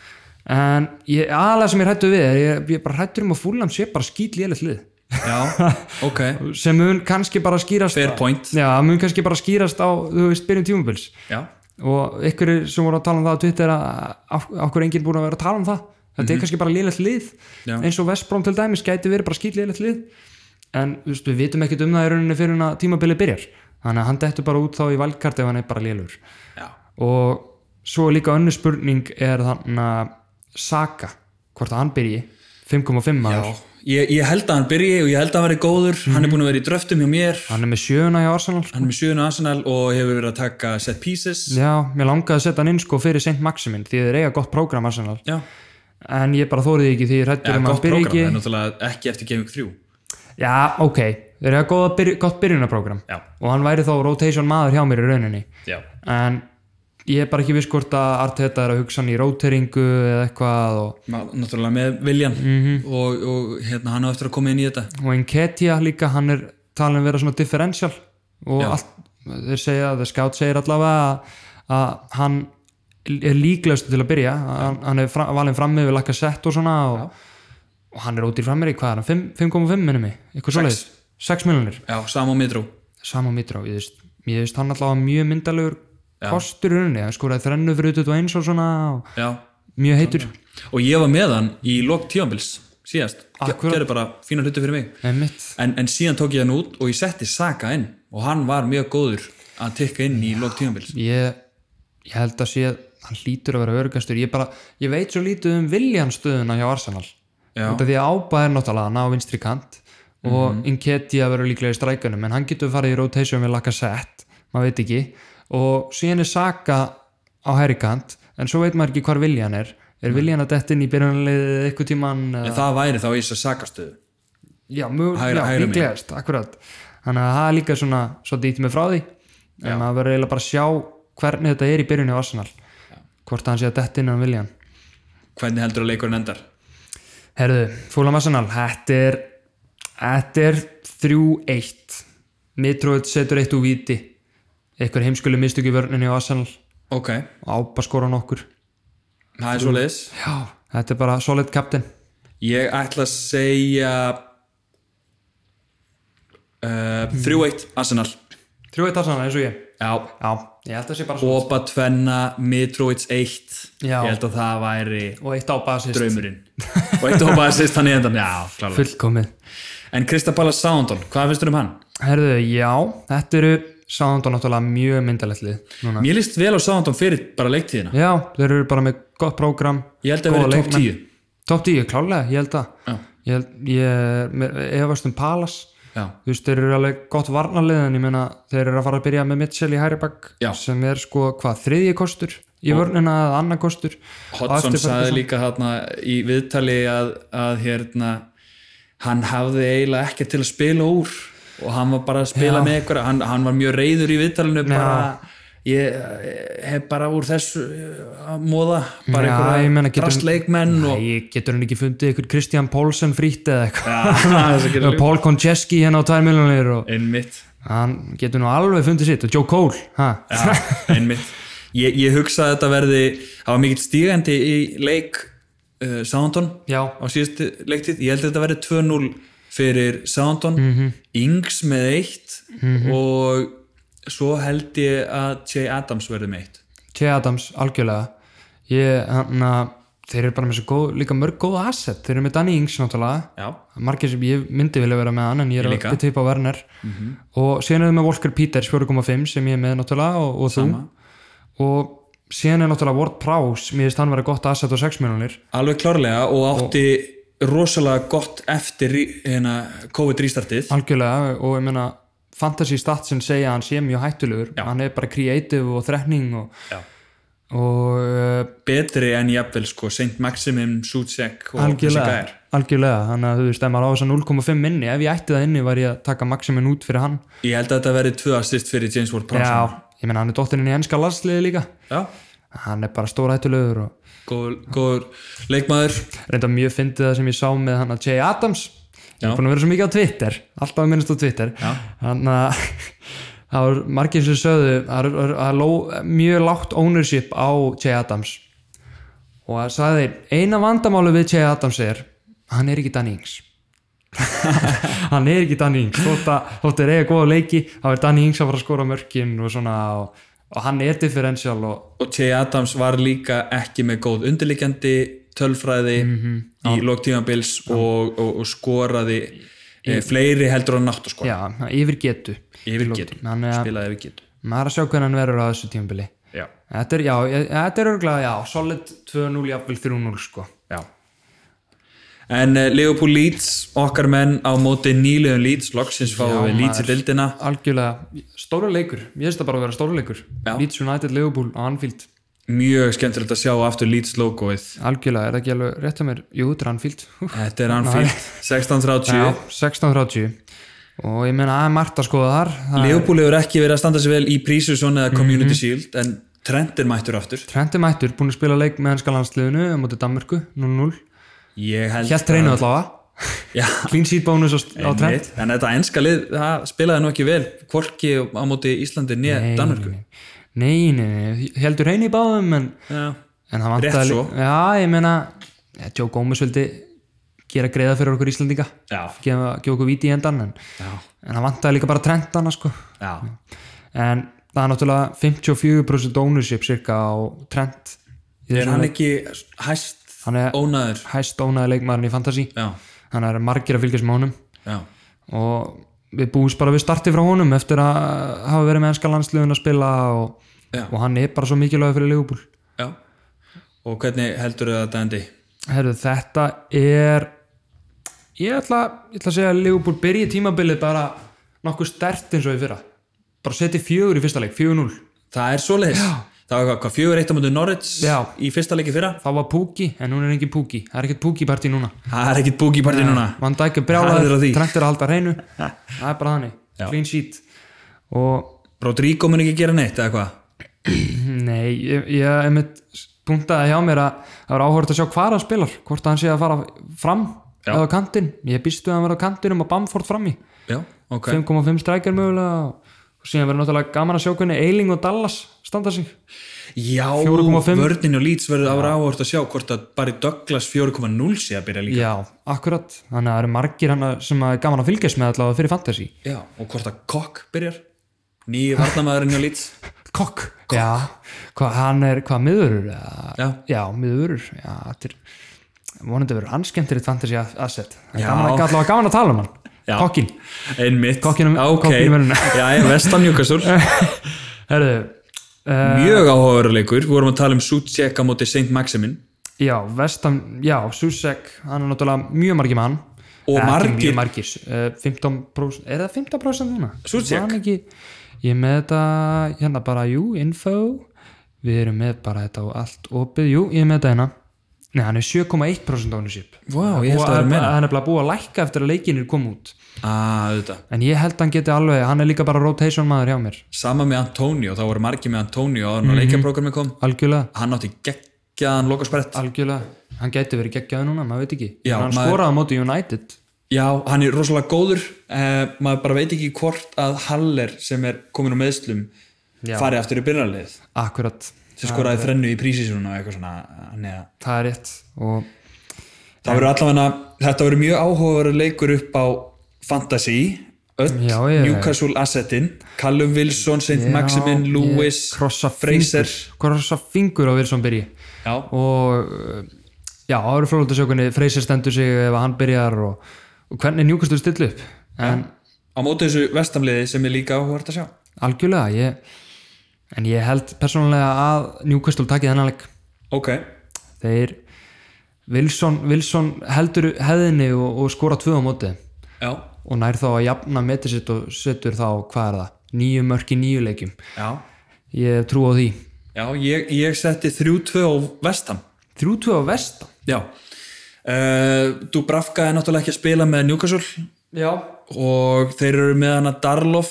Speaker 2: en ég, aðalega sem ég hrættu við er ég, ég bara hrættur um að fúlam sé bara skýt lélega hlið
Speaker 1: já, ok,
Speaker 2: sem mun kannski bara skýrast
Speaker 1: fair point
Speaker 2: já, það mun kannski bara skýrast á, þú veist, byrjun tímubils
Speaker 1: já,
Speaker 2: og ykkur sem voru að tala um það á Twitter að okkur enginn búin að vera að tala um það þetta er kannski bara lélegt lið
Speaker 1: Mhm. Já.
Speaker 2: eins og Vestbróm til dæmis gæti verið bara skýt lélegt lið en þú veist, við vitum ekkert um það í rauninni fyrir en að tímabilið byrjar þannig að hann dettur bara út þá í valkart ef hann er bara lélur
Speaker 1: já,
Speaker 2: og svo er líka önnur spurning er þannig að Saka hvort að hann byrji 5,5 maður
Speaker 1: Ég, ég held að hann byrji og ég held að hann verði góður hann er búin að vera í dröftum hjá mér
Speaker 2: hann er með sjöuna hjá Arsenal
Speaker 1: hann er með sjöðun Arsenal og hefur verið að taka set pieces
Speaker 2: já, mér langaði að setja hann inn sko fyrir Saint Maximin því þeir eiga gott prógram Arsenal
Speaker 1: já,
Speaker 2: en ég bara þóriði ekki því ég
Speaker 1: já
Speaker 2: rættur um að
Speaker 1: gott
Speaker 2: hann byrji
Speaker 1: prógram,
Speaker 2: ekki
Speaker 1: en náttúrulega ekki eftir Game Week 3
Speaker 2: Já, ok, þeir eru að góða, byrj gott byrjunarprogram
Speaker 1: já,
Speaker 2: og hann væri þá rotation maður hjá mér í rauninni
Speaker 1: já,
Speaker 2: en ég er bara ekki viss hvort að Arteta er að hugsa hann í roteringu eða eitthvað og,
Speaker 1: Ma, náttúrulega með Viljan og, og hérna hann á eftir að koma inn í þetta
Speaker 2: og Enketia líka, hann er talin vera svona differential og allt, þeir segja, The Scout segir allavega að, að hann er líklegast til að byrja hann, hann er fra, valin frammi við lakka sett og svona og, og hann er ódýr frammeir í hvað er hann, Fimm- 5,5 minnum mig, eitthvað svoleiðis 6 miljonir
Speaker 1: já, sama og mitrú
Speaker 2: sama mitrá, ég veist, ég veist hann allavega mjög myndalegur kostur í rauninni, hann skoraði þrennu fyrir 21 og svona og
Speaker 1: já.
Speaker 2: mjög heitur
Speaker 1: og ég var með hann í lok tíambils síðast,
Speaker 2: Akkurat.
Speaker 1: gerði bara fína hluti fyrir mig
Speaker 2: einmitt,
Speaker 1: en, en síðan tók ég hann út og ég setti Saka inn og hann var mjög góður að tikka inn í lok tíambils
Speaker 2: ég, ég held að sé að hann hlýtur að vera örugastur ég, bara, ég veit svo lítið um viljanstöðuna hjá Arsenal
Speaker 1: Já.
Speaker 2: þetta því að ába er náttúrulega hann á vinstri kant og mm -hmm. Inketti að vera líklega í strækunum en hann getur farið í rotation við laka sett maður veit ekki og síðan er Saka á hæri kant en svo veit maður ekki hvar viljan er er viljan að detta inn í byrjunarliðið eitthvað tíman
Speaker 1: en það væri þá í þess að Saka stöðu
Speaker 2: já, mjög,
Speaker 1: Hægra-
Speaker 2: já
Speaker 1: hægra megin.
Speaker 2: líklegast, akkurat þannig að það er líka svona svo dýtt með frá því en maður verður eiginlega bara að sjá hvernig þetta er í byrjunni á Arsenal hvort að hann sé að detti innan viljan
Speaker 1: hvernig heldur að leikurinn endar
Speaker 2: Herðu, fúlam Arsenal, þetta er þetta er 3-1 Mitrovic setur eitt úr viti eitthvað heimskuli mistöki vörninni á Arsenal
Speaker 1: ok,
Speaker 2: og ápa skoran okkur
Speaker 1: það er svo leiðis
Speaker 2: já, þetta er bara solid captain
Speaker 1: ég ætla að segja uh, 3-1 Arsenal
Speaker 2: 3-1 Arsenal eins og ég
Speaker 1: já,
Speaker 2: já, ég held að það sé bara svo
Speaker 1: Boba Tvenna, Mitrovic 1
Speaker 2: Já.
Speaker 1: ég held að það væri
Speaker 2: og eitt ápa assist
Speaker 1: draumurinn og eitt hópa að sýst hann í endan já, klálega.
Speaker 2: fullkomið
Speaker 1: en Kristapala Soundon, hvað finnst þér um hann?
Speaker 2: Herðu, já, þetta eru Soundon náttúrulega mjög myndalegt lið núna.
Speaker 1: mér líst vel á Soundon fyrir bara leiktíðina
Speaker 2: Já, þeir eru bara með gott prógram
Speaker 1: ég held að
Speaker 2: góða
Speaker 1: vera top 10
Speaker 2: leikmenn. Topp 10, klálega, ég held að
Speaker 1: Já.
Speaker 2: Ég, held- ég efast um Palace
Speaker 1: já,
Speaker 2: þú veist, þeir eru alveg gott varnarlið en ég meina, þeir eru að fara að byrja með Mitchell í hæri bakk
Speaker 1: Já.
Speaker 2: sem er sko, hvað, þriðji kostur í vörnina eða annar kostur
Speaker 1: Hodgson sagði
Speaker 2: Ferguson.
Speaker 1: líka hérna í viðtali að, að hérna hann hafði eiginlega ekkert til að spila úr og hann var bara að spila
Speaker 2: Já.
Speaker 1: með ykkur hann, hann var mjög reyður í viðtalinu bara, ég eh, hef bara úr þessu eh, að móða bara
Speaker 2: Já, ég
Speaker 1: einhverja
Speaker 2: meina, getur-
Speaker 1: drastleikmenn og
Speaker 2: Nei, getur hann ekki fundið ykkur Kristján Pólsen frýtt eða eitthvað
Speaker 1: ja,
Speaker 2: Pól Koncheski hérna á 2 miljonir og
Speaker 1: einmitt
Speaker 2: hann getur nú alveg fundið sitt og Joe Cole, ha?
Speaker 1: Já, einmitt ég, ég hugsa að þetta verði það var mikill stígandi í leik uh, Soundon
Speaker 2: Já,
Speaker 1: á síðustu leiktið ég held að þetta verði 2-0 fyrir Soundon
Speaker 2: Mhm.
Speaker 1: Ings með eitt og svo held ég að Jay Adams verði með eitt
Speaker 2: Che Adams, algjörlega ég, hann að þeir eru bara með svo góð, líka mörg góð asset þeir eru með Danny Ings náttúrulega
Speaker 1: já,
Speaker 2: margir sem ég myndi vilja vera með hann en ég er
Speaker 1: Ég
Speaker 2: að
Speaker 1: líka.
Speaker 2: bytta upp á Werner og síðan er það með Walker Peters 4.5 sem ég er með náttúrulega og, og þú og síðan er náttúrulega Ward Prowse, mér finnst hann vera gott asset á 6 miljonir
Speaker 1: alveg klárlega og átti rosalega gott eftir í- hérna, COVID-restartið
Speaker 2: algjörlega og ég meina fantasy statsin segja að hann sé mjög hættulegur hann er bara creative og þrekning og,
Speaker 1: Já.
Speaker 2: og uh,
Speaker 1: betri en jafnvel sko St. Maximin, Sucek og þessi
Speaker 2: algjörlega,
Speaker 1: gær
Speaker 2: algjörlega þannig að þú veist, ef maður á þess að 0.5 inni ef ég ætti það inni var ég að taka maximin út fyrir hann
Speaker 1: ég held að þetta verði 2 assist fyrir James Ward-Prowse
Speaker 2: já, ég meina hann er dóttirinn í enska landsliði líka
Speaker 1: já,
Speaker 2: hann er bara stóra hættulegur og
Speaker 1: góður, góður leikmaður
Speaker 2: reynda mjög fyndið það sem ég sá með hann að Jay Adams ég
Speaker 1: Já.
Speaker 2: er búin að vera svo mikið á Twitter alltaf að minnast á Twitter
Speaker 1: Já.
Speaker 2: þannig að það var margir sem sögðu það er- það er ló- mjög lágt ownership á Jay Adams og það sagði eina vandamálu við Jay Adams er hann er ekki Danny Ings hann er ekki Danny Ings þótt að þótt er eiga góða leiki þá er Danny Ings að fara að skora mörkin og svona og, og hann er differential og
Speaker 1: og Jay Adams var líka ekki með góð undirliggjandi tölfræði í lóktímabils og, og, og skoraði e, fleiri heldur en nátt að skora
Speaker 2: já, yfir getu
Speaker 1: yfir getur,
Speaker 2: hann er að,
Speaker 1: spilaði yfir getur
Speaker 2: maður er að sjá hvernig hann verður á þessu tímabili
Speaker 1: já,
Speaker 2: þetta er, já, ég- þetta er örgulega, já, solid 2-0, jafnvel 3-0 sko
Speaker 1: já en uh, Leopold Leeds, okkar menn á móti nýliðum Leeds, loksins fáum við Leeds í dildina
Speaker 2: algjörlega, stóra leikur, ég finnst það bara að vera stóra leikur
Speaker 1: Já.
Speaker 2: Leeds United, Liverpool og Anfield
Speaker 1: mjög skemmtilegt að sjá aftur Leeds logoið
Speaker 2: algjörlega, er það ekki alveg rétt að mér jú, þetta er Anfield Hú.
Speaker 1: þetta er anfíld, 1630
Speaker 2: já, 16-30 og ég meina, að Marta skoða þar það er
Speaker 1: Leopold hefur ekki verið að standa sér vel í Prísusson eða Community Shield en Trent er mættur aftur
Speaker 2: Trenti Mættur, búin að spila leik með henska landsliðinu á móti Danmörku, 0-0
Speaker 1: ég held
Speaker 2: Hjælt reynu allavega,
Speaker 1: já,
Speaker 2: clean sheet bónus á, á Trent
Speaker 1: Einmitt. En þetta enska lið, það spilaði nú ekki vel hvorki á móti Íslandi nýja Danmörku.
Speaker 2: Nei, nei, nei, heldur reyni í báðum en,
Speaker 1: Já.
Speaker 2: en það vantaði
Speaker 1: Rétt svo.
Speaker 2: lí- Já, ég meina, ja, Joe Gómez vildi gera greiða fyrir okkur Íslandinga
Speaker 1: Já.
Speaker 2: gefa, gefa okkur viti í endan en,
Speaker 1: Já.
Speaker 2: en það vantaði líka bara trendana sko
Speaker 1: Já.
Speaker 2: en það er náttúrulega 54% ownership cirka á trend
Speaker 1: Er
Speaker 2: í þessum
Speaker 1: hann
Speaker 2: leik.
Speaker 1: ekki hæst
Speaker 2: hann er
Speaker 1: ónaður?
Speaker 2: hæst ónaði leikmaðurinn í fantasy
Speaker 1: Já.
Speaker 2: hann er margir að fylgjast með honum
Speaker 1: Já.
Speaker 2: og við búist bara við starti frá honum eftir að hafa verið með enska landsliðun að spila og,
Speaker 1: Já.
Speaker 2: og hann er bara svo mikilvæg fyrir Liverpool
Speaker 1: Já. Og hvernig heldur þau þetta endi?
Speaker 2: Herðu, þetta er ég ætla, ég ætla að segja að Liverpool byrji tímabilið bara nokkuð stert eins og í fyrra bara seti fjögur í fyrsta leik, 4-0
Speaker 1: Það er svoleiðis. Það var hvað, hvað fjögur eitt á móti Norwich
Speaker 2: Já.
Speaker 1: í fyrsta leiki fyrra?
Speaker 2: þá var Púki, en núna er engin Púki það er ekkert Púki-partí núna
Speaker 1: Það er ekkit búki í partí núna.
Speaker 2: Van Dijk er
Speaker 1: Harður á
Speaker 2: brjálaður,
Speaker 1: því.
Speaker 2: Trent er að halda hreinu það er bara þannig, clean sheet og
Speaker 1: Rodrigo mun ekki gera neitt eða hvað?
Speaker 2: Nei, ég, ég einmitt punktaði hjá mér að það var áhört að sjá hvar hann spilar, hvort að hann sé að fara fram
Speaker 1: Já.
Speaker 2: eða á kantinn, ég býst við að hann verða á kantinum og Bamford fram í,
Speaker 1: Já, ok.
Speaker 2: 5,5 strækjar mögulega og, og síðan verður náttúrulega gaman að sjá hvernig Eiling og Dallas standa sig
Speaker 1: Já,
Speaker 2: 4,5.
Speaker 1: vörnin og Leeds verður ára áhört að sjá hvort að bara Douglas 4,0 sé að byrja líka.
Speaker 2: Já, akkurat, þannig að það eru margir hana sem að er gaman að fylgjast með allavega fyrir fantasy
Speaker 1: Já, og hvort að kokk byrjar nýju varnamæðurinn hjá Leeds
Speaker 2: Kokk, já, hvað hann er, hvað miðurur eða-
Speaker 1: Já,
Speaker 2: Já, miðurur, já, þetta er vonandi verður hann skemmtir fantasy asset, það
Speaker 1: Já.
Speaker 2: er gaman að, allavega gaman að tala um hann
Speaker 1: Já.
Speaker 2: Kokkin
Speaker 1: einmitt
Speaker 2: Kokkinum-
Speaker 1: ok,
Speaker 2: kokkinum verður-
Speaker 1: já, ég vestan Newcastle
Speaker 2: Herðu, uh,
Speaker 1: mjög áhugaveruleikur, við vorum að tala um Sucheka móti St. Maximin
Speaker 2: já, vestam, já, Susek, hann er náttúrulega mjög margir mann
Speaker 1: og
Speaker 2: Ekki
Speaker 1: margir
Speaker 2: mjög margir Eh, 15% er það 15% núna?
Speaker 1: Zuzek.
Speaker 2: Man ekki, ég er með þetta hérna bara, jú, info við erum með bara þetta og allt opið, jú, ég er með þetta hérna Nei, hann er 7,1% ownership
Speaker 1: Vá, ég held að það væri
Speaker 2: er
Speaker 1: meira.
Speaker 2: Hann er bara búið að lækka eftir að leikinir kom út
Speaker 1: að þetta
Speaker 2: En ég held að hann geti alveg, hann er líka bara rotation maður hjá mér
Speaker 1: sama með Antonio, þá voru margir með Antonio áður en að leikjaprogrammi kom
Speaker 2: Algjörlega,
Speaker 1: hann átti geggjaðan lokasprett
Speaker 2: algjörlega Hann geti verið geggjaði núna, maður veit ekki
Speaker 1: Já,
Speaker 2: Hann
Speaker 1: maður-
Speaker 2: skoraði á móti United
Speaker 1: já, hann er rosalega góður eh, maður bara veit ekki hvort að Haller sem er komin úr meðslum
Speaker 2: Já.
Speaker 1: fari aftur í byrjarlið
Speaker 2: Akkurat,
Speaker 1: sem skoraði þrennu í prísísunum og eitthvað svona hann er
Speaker 2: það er rétt Og
Speaker 1: Það verður allavega, þetta verður mjög áhugaverður leikur upp á Fantasy, öll,
Speaker 2: Já, já, já.
Speaker 1: Newcastle Assetin, Callum Wilson, St. Maximin,
Speaker 2: Já,
Speaker 1: Lewis,
Speaker 2: ég krossa
Speaker 1: Fraser.
Speaker 2: fingur, krossa fingur á Wilson byrji
Speaker 1: Já,
Speaker 2: og uh, já, áður flóðaldasjókunni Freyser stendur sig ef hann byrjar og, og hvernig njúkastur stillu upp en
Speaker 1: á móti þessu vestamliði sem er líka áhugavert að sjá.
Speaker 2: algjörlega ég, en ég held persónulega að njúkastur takið þennan leik
Speaker 1: Ok,
Speaker 2: þeir Wilson, Wilson heldur hefðinni og, og skora tvö á móti
Speaker 1: já,
Speaker 2: og nær þá að jafna metið sitt og setur þá, hvað er það, nýju mörki nýju leikjum,
Speaker 1: já,
Speaker 2: ég hef trú á því
Speaker 1: já, ég, ég setti 3-2 á vestam.
Speaker 2: þrjú tvö á vestan
Speaker 1: Já, uh, Dubravka er náttúrulega ekki að spila með Newcastle
Speaker 2: já,
Speaker 1: og þeir eru með hana Darlof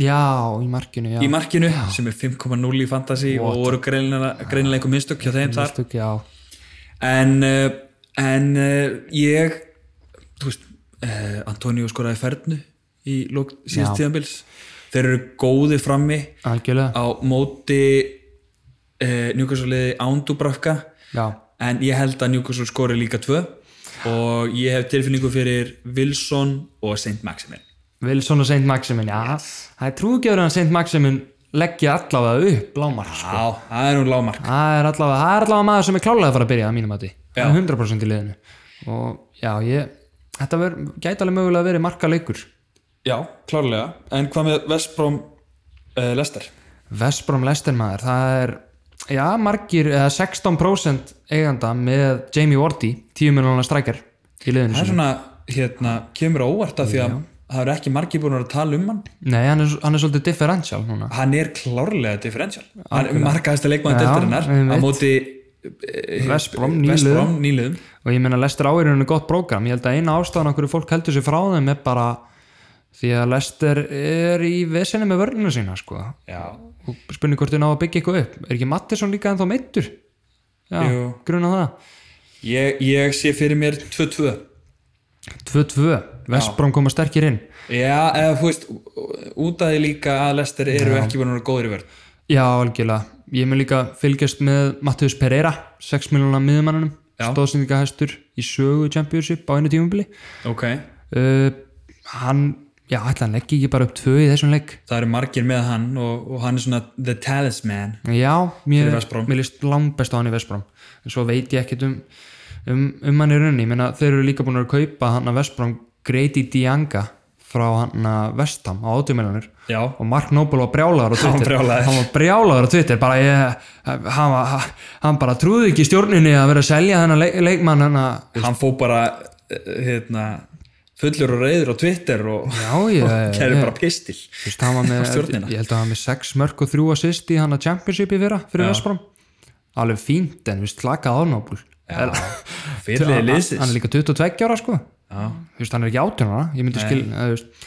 Speaker 2: já, í markinu já.
Speaker 1: í markinu sem er 5.0 í Fantasy og voru greinilega greinilega einhver mistök hjá þeim þar.
Speaker 2: Mistök, já.
Speaker 1: en, uh, en uh, ég þú veist, uh, Antonio skoraði fernu í lok síðast tíðanbils þeir eru góði frammi
Speaker 2: algjörlega
Speaker 1: á móti uh, njúkvæmsvaliði ándubrakka
Speaker 2: já.
Speaker 1: en ég held að njúkvæmsvali skori líka tvö og ég hef tilfinningu fyrir Wilson og St. Maximin
Speaker 2: Wilson og Saint Maximin, já það er trúgjöður að Saint Maximin leggja allavega upp lámar
Speaker 1: Já, það er nú lágmark
Speaker 2: það er allavega, það er allavega maður sem er klálega að fara að byrja að mínum að því,
Speaker 1: Já.
Speaker 2: 100% í liðinu og já, ég þetta ver, gæti alveg mögulega að vera marka leikur
Speaker 1: Já, klárlega En hvað með Vestbróm uh, Lester?
Speaker 2: Vestbrom Lester maður, það er já, margir, eða 16% eiganda með Jamie Wardy 10 miljonar strækjar í liðinu
Speaker 1: Það er
Speaker 2: sínu.
Speaker 1: svona, hérna, kemur á óvart af því að það eru ekki margir búin að vera að tala um hann
Speaker 2: nei, hann er, hann er svolítið differential núna
Speaker 1: hann er klárlega differential hann er markaðasta leikmann
Speaker 2: Já,
Speaker 1: deildarinnar á
Speaker 2: einmitt.
Speaker 1: móti Eh,
Speaker 2: West Brom,
Speaker 1: Vestbrom nýliðum
Speaker 2: og ég meina Lester áirinu gott prógram ég held að eina ástæðan okkur fólk heldur sér frá þeim er bara því að Lester er í vesinni með vörluna sína sko.
Speaker 1: já,
Speaker 2: og spurning hvort þau ná að byggja eitthvað upp er ekki Mattisson líka ennþá meittur? Já,
Speaker 1: Jú.
Speaker 2: gruna það
Speaker 1: ég, ég sé fyrir mér 2-2
Speaker 2: 2-2, Vestbrón koma sterkir inn
Speaker 1: já, eða þú veist út af því líka að Lester eru ekki búin að vera góður í verð
Speaker 2: Já, algjörlega ég mun líka fylgjast með Mattius Pereira 6 miljonar miðumannanum
Speaker 1: Já.
Speaker 2: stóðsendingahæstur í sögu championship á einu tímumbili
Speaker 1: ok,
Speaker 2: uh, hann, já, ætla hann leggi ekki bara upp 2 í þessum legg
Speaker 1: það eru margir með hann og, og hann er svona the talisman
Speaker 2: Já, mér,
Speaker 1: West Brom.
Speaker 2: mér líst langbest á hann í Vesprám en svo veit ég ekkert um, um, um hann í rauninni, ég meina þeir eru líka búin að kaupa hann að Vesprám Grady Dianga frá hann að Vestam á 80 miljonir
Speaker 1: já,
Speaker 2: og Mark Noble var brjálaður á Twitter
Speaker 1: var brjálaður.
Speaker 2: hann var brjálaður á Twitter bara ég, hann, var, hann bara trúði ekki stjórninni að vera að selja þennan leik, leikmann hann að
Speaker 1: hann fó bara eh, hérna, fullur og reyður á Twitter og
Speaker 2: já, ég,
Speaker 1: kæri bara pistil
Speaker 2: Þú veist, hann var með,
Speaker 1: Stjórnina.
Speaker 2: ég held að hann var með 6 mörg og 3 assist í hann að championship í fyrra fyrir Vesprám alveg fínt en við slakaði á Noble
Speaker 1: fyrirlega
Speaker 2: hann
Speaker 1: liðsins
Speaker 2: er líka 22 ára sko Þú veist, hann er ekki 18 ára ég myndi skil að, þú veist,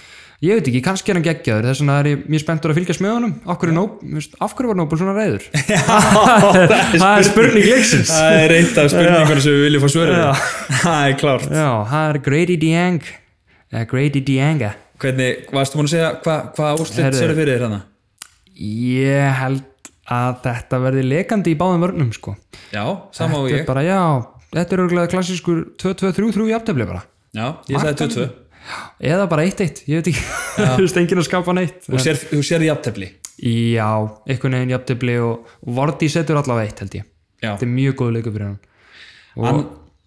Speaker 2: ég veit ekki, kannski er hann geggjaður þess vegna er ég mjög spenntur að fylgjast með honum af hverju, Nob, þú veist, af hverju var Nobel svona reyður það er spurning leiksins
Speaker 1: Það er eitt af spurningunum sem við viljum fá svöru við. Það er klárt.
Speaker 2: já, það er Grady Dieng eða Grady Dienga
Speaker 1: Hvernig, varstu búin að segja hvað hva úrslit
Speaker 2: Herðu.
Speaker 1: sér fyrir þér hana?
Speaker 2: ég held að þetta verði lekandi í báðum vörnum sko.
Speaker 1: Já, sama og
Speaker 2: þetta
Speaker 1: ég.
Speaker 2: er bara, já, þetta er örgulega klassískur 2-2-3-3 jafntefli bara
Speaker 1: Já, ég sagði 2-2.
Speaker 2: eða bara 1-1, ég veit ekki þú veist, enginn að skapa neitt
Speaker 1: Þú sér, þú sér jafntefli.
Speaker 2: Já, einhvern veginn jafntefli og og Vardy setur allavega eitt held ég
Speaker 1: Já.
Speaker 2: þetta er mjög góð leikur fyrir hann og An...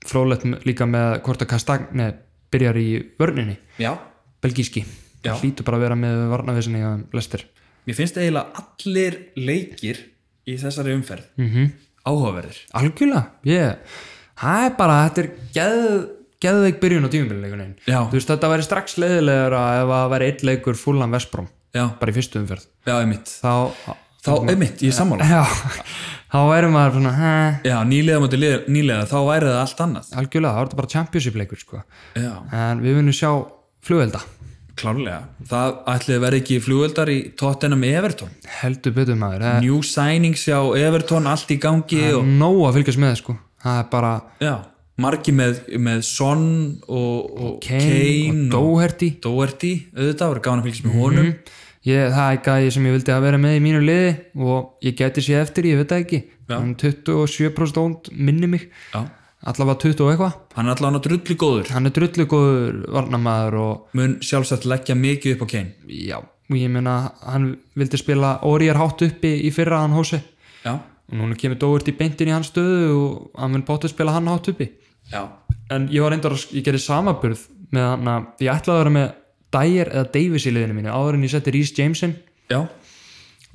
Speaker 2: frólætt líka með hvort að Kastagne byrjar í vörninni
Speaker 1: Já.
Speaker 2: belgíski,
Speaker 1: Já.
Speaker 2: hlýtur bara að vera með varnavesinni hjá Lester
Speaker 1: Mér finnst eiginlega allir leikir í þessari umferð
Speaker 2: Mhm.
Speaker 1: mm -hmm. áhugaverðir.
Speaker 2: algjörlega, ég það er bara, þetta er geð, geðveik byrjun á tíumbilinu
Speaker 1: Já.
Speaker 2: þú veist þetta væri strax leiðilegur ef að væri einn leikur fullan Vesbrom
Speaker 1: já,
Speaker 2: bara í fyrstu umferð
Speaker 1: já, einmitt
Speaker 2: þá,
Speaker 1: þá, einmitt, ég er sammála
Speaker 2: já, þá væri maður svona, hæ,
Speaker 1: já, nýlega mútið nýlega, þá væri það allt annað
Speaker 2: algjörlega, þá er þetta bara championship leikur sko.
Speaker 1: já,
Speaker 2: en við munum sjá flugvelda
Speaker 1: klárlega það ætliði verið ekki flugöldar í Tottenham Everton
Speaker 2: heldur betur maður, það
Speaker 1: New signings hjá Everton, allt í gangi og,
Speaker 2: er nóg að fylgjast með sko. það er bara
Speaker 1: já, margi með, með Son og, og Kane,
Speaker 2: Kane og
Speaker 1: og,
Speaker 2: Doherty Mhm.
Speaker 1: Doherty auðvitað, voru gáðan að fylgjast með honum
Speaker 2: ég, það er gæði sem ég vildi að vera með í mínu liði og ég geti sé eftir, ég veit það ekki um 27% ónd minni mig
Speaker 1: já,
Speaker 2: allavega 20 og eitthvað
Speaker 1: hann er allan að drullu góður
Speaker 2: hann er drullu góður varnamaður og
Speaker 1: mun sjálfsagt leggja mikið upp á Kane
Speaker 2: já, og ég meina hann vildi spila orýjar hátt uppi í fyrra hann hósi
Speaker 1: já,
Speaker 2: og núna kemur Dóvert í beintin í hans stöðu og hann mun bótið spila hann hátt uppi
Speaker 1: já,
Speaker 2: en ég var reyndar að ég gerði samaburð með hann að ég ætlaði að vera með Dyer eða Davis í liðinu mínu áður en ég setti Rhys Jameson
Speaker 1: já,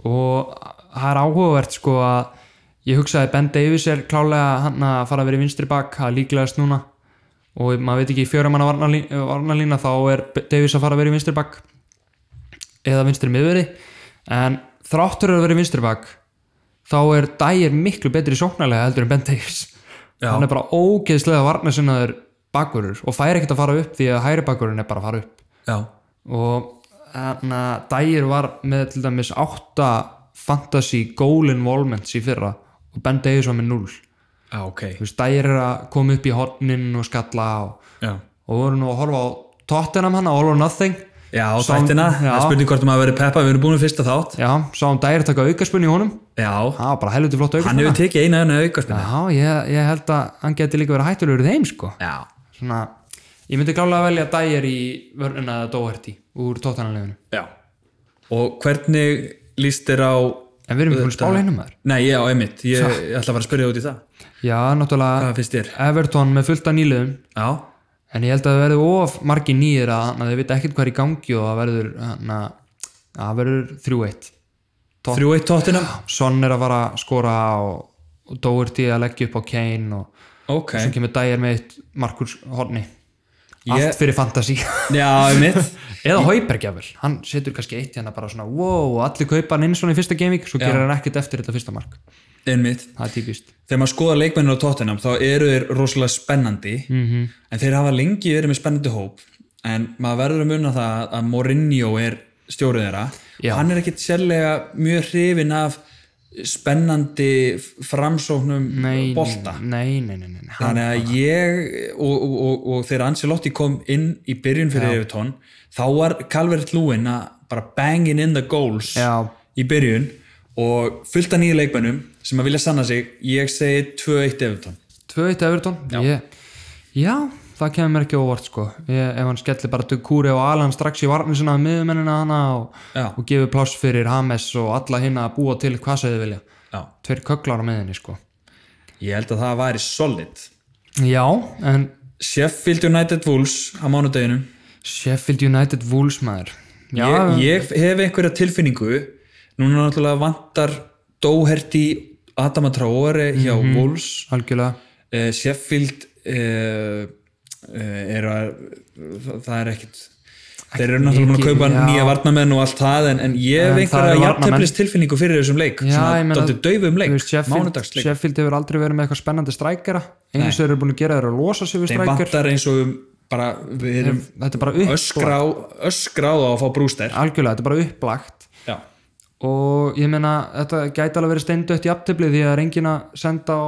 Speaker 2: og það er áhugavert sko að ég hugsaði Ben Davis er klálega hann að fara að vera í vinstri bak það er líklegast núna og maður veit ekki í fjörum hann að varnalína þá er B- Davis að fara að vera í vinstri bak eða vinstri miðveri en þráttur að vera í vinstri bak þá er Dyer miklu betri sóknarlega heldur en Ben Davis
Speaker 1: Já.
Speaker 2: hann er bara ógeðslega varnasinnaður bakurur og fær ekkert að fara upp því að hæri bakurinn er bara að fara upp
Speaker 1: já,
Speaker 2: og þannig að Dyer var með til dæmis 8 fantasy goal involvements í fyrra og Ben Davies var með 0 þú
Speaker 1: já, ok
Speaker 2: veist, Dyer er að koma upp í hornin og skalla og,
Speaker 1: já,
Speaker 2: og voru nú að horfa á Tottenham hana, All or Nothing
Speaker 1: já
Speaker 2: Sá-
Speaker 1: þættina, það er
Speaker 2: já.
Speaker 1: spurning hvort maður verið peppa, við erum búin að fyrsta þátt
Speaker 2: já, sáum Dyer taka aukaspunni í honum
Speaker 1: já,
Speaker 2: það var bara helviti flott
Speaker 1: hann
Speaker 2: aukaspunni
Speaker 1: hefur tekið eina eina aukarspinna
Speaker 2: já, ég, ég held að hann geti líka verið hættulegur í þeim sko
Speaker 1: já,
Speaker 2: svona, ég myndi klálega velja Dyer í vörnina Doherty úr Tottenham liðinu
Speaker 1: já og hvernig líst þér á
Speaker 2: en við erum ekki búin að spála hennum maður
Speaker 1: nei, já, einmitt, ég, ég ætla að fara að spyrja út í það
Speaker 2: já, náttúrulega
Speaker 1: hvað finnst þér?
Speaker 2: Everton með fullt af nýliðum
Speaker 1: já,
Speaker 2: en ég held að það verður of margi nýjir að, að þau vita ekkert hvað er í gangi og það verður hana, það verður 3-1 Topp.
Speaker 1: 3-1 Tottenham
Speaker 2: Son er að fara að skora og, og Doherty að leggja upp á Kane og
Speaker 1: ok,
Speaker 2: svo kemur Dyer með eitt Markus Horni
Speaker 1: Ég-
Speaker 2: allt fyrir fantasy
Speaker 1: já, einmitt
Speaker 2: eða Haubergjafel, hann setur kannski eitt hérna bara svona wow, og allir kaupa hann inn svona í fyrsta gaming svo gerir hann ekkert eftir þetta fyrsta mark
Speaker 1: einmitt
Speaker 2: það er típist
Speaker 1: þegar maður skoðar leikmennir á Tottenham þá eru þeir rosalega spennandi -hmm. en þeir hafa lengi verið með spennandi hóp en maður verður að muna það að Mourinho er stjórið þeirra
Speaker 2: Já.
Speaker 1: og hann er ekkit sérlega mjög hrifin af spennandi framsóknum
Speaker 2: nei,
Speaker 1: bolta
Speaker 2: nei, nei, nei, nei, nei. Hann,
Speaker 1: þannig að ég og, og, og, og þegar Ancelotti kom inn í byrjun fyrir Evertón þá var Calvert Lúin að bara banging in the goals
Speaker 2: Já.
Speaker 1: í byrjun og fullt af nýju leikmennum sem að vilja sanna sig ég segi 2-1 Evertón
Speaker 2: 2-1 Everton já. Ég, já, það kemur mér ekki á óvart sko. ég, ef hann skellir bara Dukúri og Alan strax í varnir sinna með miðumennina hana og,
Speaker 1: Já.
Speaker 2: og gefur pláss fyrir Hames og alla hinn að búa til hvað sem þau vilja
Speaker 1: Já.
Speaker 2: tveir köklar á miðinni sko.
Speaker 1: ég held að það væri solid
Speaker 2: já, en
Speaker 1: Sheffield United Wolves á mánudeginum
Speaker 2: Sheffield United Wolves maður já,
Speaker 1: ég, ég hef einhverja tilfinningu núna náttúrulega vantar Doherty Adama Traore hjá
Speaker 2: Mhm.
Speaker 1: Wolves
Speaker 2: algjörlega
Speaker 1: uh, Sheffield uh, uh, er að það, það er ekkit þeir eru náttúrulega búin að
Speaker 2: mikið,
Speaker 1: kaupa
Speaker 2: já.
Speaker 1: nýja varnamenn og allt það en, en ég hef
Speaker 2: En það
Speaker 1: einhverja
Speaker 2: eru
Speaker 1: jafnteflis tilfinningu fyrir þessum leik
Speaker 2: Já, ég
Speaker 1: svona
Speaker 2: meina-
Speaker 1: dóttir daufum
Speaker 2: Þú
Speaker 1: leik,
Speaker 2: veist, Sheffield,
Speaker 1: mánudagsleik
Speaker 2: Sheffield hefur aldrei verið með eitthvað spennandi strækjara einu sem þeir eru búin að gera þeir eru að losa sig við
Speaker 1: þeim
Speaker 2: strækjar
Speaker 1: vantar eins og um bara við erum
Speaker 2: þetta er bara upp,
Speaker 1: öskrá, öskrá á að fá brúster
Speaker 2: algjörlega, þetta er bara upplagt
Speaker 1: já,
Speaker 2: og ég meina þetta gæti alveg verið steindött í aftöfli því að það er engin að senda á,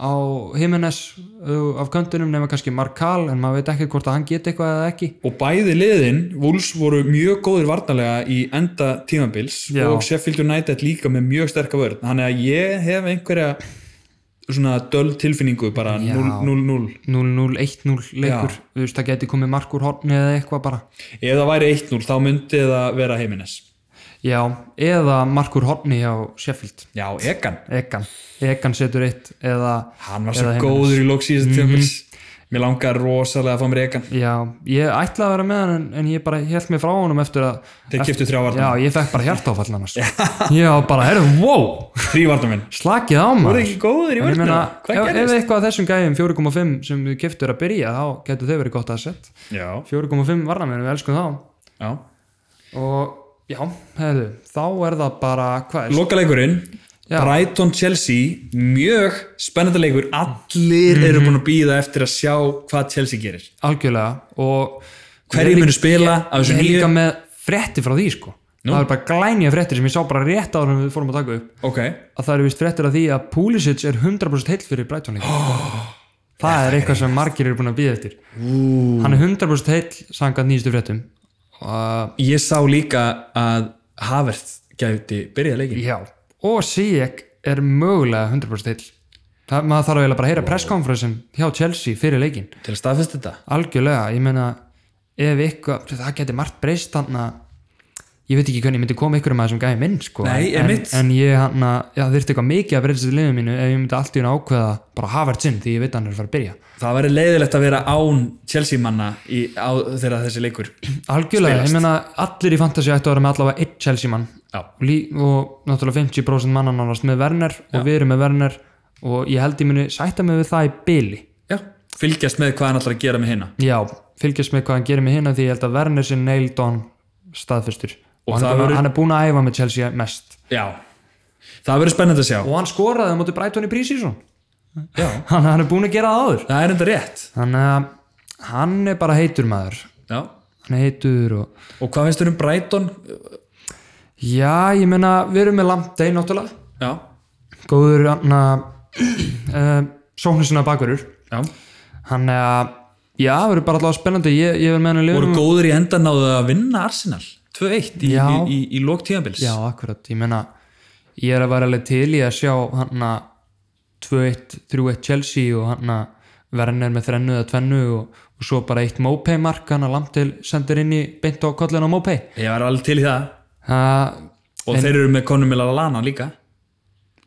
Speaker 2: á Jimenez uh, af köntunum nema kannski Mark Kahl en maður veit ekki hvort að hann geti eitthvað eða ekki
Speaker 1: og bæði liðin Wolves voru mjög góðir varnarlega í enda tímabils
Speaker 2: Já.
Speaker 1: og Sheffield United líka með mjög sterka vörð þannig að ég hef einhverja svona döl tilfinningu bara 0-0-0
Speaker 2: 0-0-1-0 leikur,
Speaker 1: Já.
Speaker 2: þú veist það geti komið mark úr horni eða eitthvað bara
Speaker 1: Ef það væri 1-0 þá myndi það vera heimines.
Speaker 2: já, eða mark úr horni hjá Sheffield
Speaker 1: Já, Egan.
Speaker 2: Egan, Egan setur eitt eða
Speaker 1: Hann var svo
Speaker 2: Eða Jimenez.
Speaker 1: góður í lók síðast mm -hmm. mér langar rosalega að fá mér egan
Speaker 2: já, ég ætlaði að vera með hann en, en ég bara held mig frá honum eftir að
Speaker 1: þeir kiptu þrjá
Speaker 2: já,
Speaker 1: varnar,
Speaker 2: ég fekk bara hjartáfall annars ég var bara, herru, wow,
Speaker 1: þrjí varnar minn
Speaker 2: slakið á maður
Speaker 1: voru ekki góður í
Speaker 2: En ég
Speaker 1: vörnum,
Speaker 2: meina,
Speaker 1: hvað
Speaker 2: ef, ef
Speaker 1: gerist?
Speaker 2: eitthvað af þessum gæjum 4.5 sem við keftur að byrja þá getur þeir verið gott að sett
Speaker 1: já,
Speaker 2: 4.5 varnamenn, við elskum þá
Speaker 1: já
Speaker 2: og já, hefðu, þá er það bara hvað er,
Speaker 1: Lokaleikurinn,
Speaker 2: Já.
Speaker 1: Brighton Chelsea mjög spennandi leikur allir eru búin að býða eftir að sjá hvað Chelsea gerir
Speaker 2: algjörlega og
Speaker 1: hverjir munu spila af
Speaker 2: ég
Speaker 1: þessu
Speaker 2: er
Speaker 1: nýju
Speaker 2: líka með frétti frá því sko það er bara glænja fréttir sem ég sá bara rétt áður en við fórum að taka upp
Speaker 1: ok,
Speaker 2: að það eru vist fréttir af því að Pulisic er 100% heill fyrir Brighton líka það er eitthvað sem margir eru búin að býða eftir Ooh. hann er 100% heill sangað nýjastu fréttum og
Speaker 1: ég sá líka að Havert gæti byrjað leikin
Speaker 2: Já, og Sijek er mögulega 100% heill. Það, maður þarf eiginlega bara að heyra wow. presskonferensin hjá Chelsea fyrir leikin.
Speaker 1: til að staðfesta þetta
Speaker 2: Algjörlega, ég meina ef eitthvað, það geti margt breyst hann ég veit ekki hvernig ég myndi koma ykkur um að þessum gæmi minn sko.
Speaker 1: Nei,
Speaker 2: en, en,
Speaker 1: einmitt.
Speaker 2: en ég hann að, já, þurfti eitthvað mikið að breytast í liðum mínu ef ég myndi allt í hún ákveða bara Havert sinn því ég veit að hann er að fara að byrja.
Speaker 1: það væri leiðilegt að vera án Chelsea manna í, á, þegar þessi leikur
Speaker 2: Algjörlega, ég meina allir í fantasy ættu að vera með allavega eitt Chelsea mann
Speaker 1: Já.
Speaker 2: og, lí, og náttúrulega 50% manna nánast með Werner og við erum með Werner og ég held ég muni sætta mig við það í byli
Speaker 1: já. fylgjast með hvað hann ætlar að gera með hinna
Speaker 2: Já, fylgjast með hvað hann gerir með hérna því ég held að Werner sé nailed on staðfyrstur og, hann,
Speaker 1: það
Speaker 2: er búin,
Speaker 1: verður-
Speaker 2: hann er búin að æfa með Chelsea mest
Speaker 1: já, það verður spennandi að sjá
Speaker 2: og hann skoraði á móti Brighton í prísísson
Speaker 1: já.
Speaker 2: hann, hann er búin að gera það áður
Speaker 1: það er enda rétt
Speaker 2: þannig að hann er bara heitur maður
Speaker 1: já.
Speaker 2: hann er heitur og
Speaker 1: og hvað finnst þér um Brighton
Speaker 2: já, ég meina, við erum með Lamptey náttúrulega
Speaker 1: já,
Speaker 2: góður hérna, hann að uh, sóknisuna bakverur
Speaker 1: já
Speaker 2: hann er að já, það verður bara alltaf spennandi ég, ég verður með hann að
Speaker 1: voru
Speaker 2: liðum
Speaker 1: góður í endan náðu að vinna Arsenal 2-1 í, í,
Speaker 2: Um, Já.
Speaker 1: í, í lók tíðanbils
Speaker 2: já, akkurat, ég meina ég er að vera alveg til í að sjá hann að 2-1, 3-1 Chelsea og hann að Werner með þrennu eða tvennu og, og svo bara eitt Mopey mark hann að Lamtil sendir inn í beint á kollin á Mopey
Speaker 1: ég var alveg til í það
Speaker 2: það,
Speaker 1: og þeir eru með konum með Lallana líka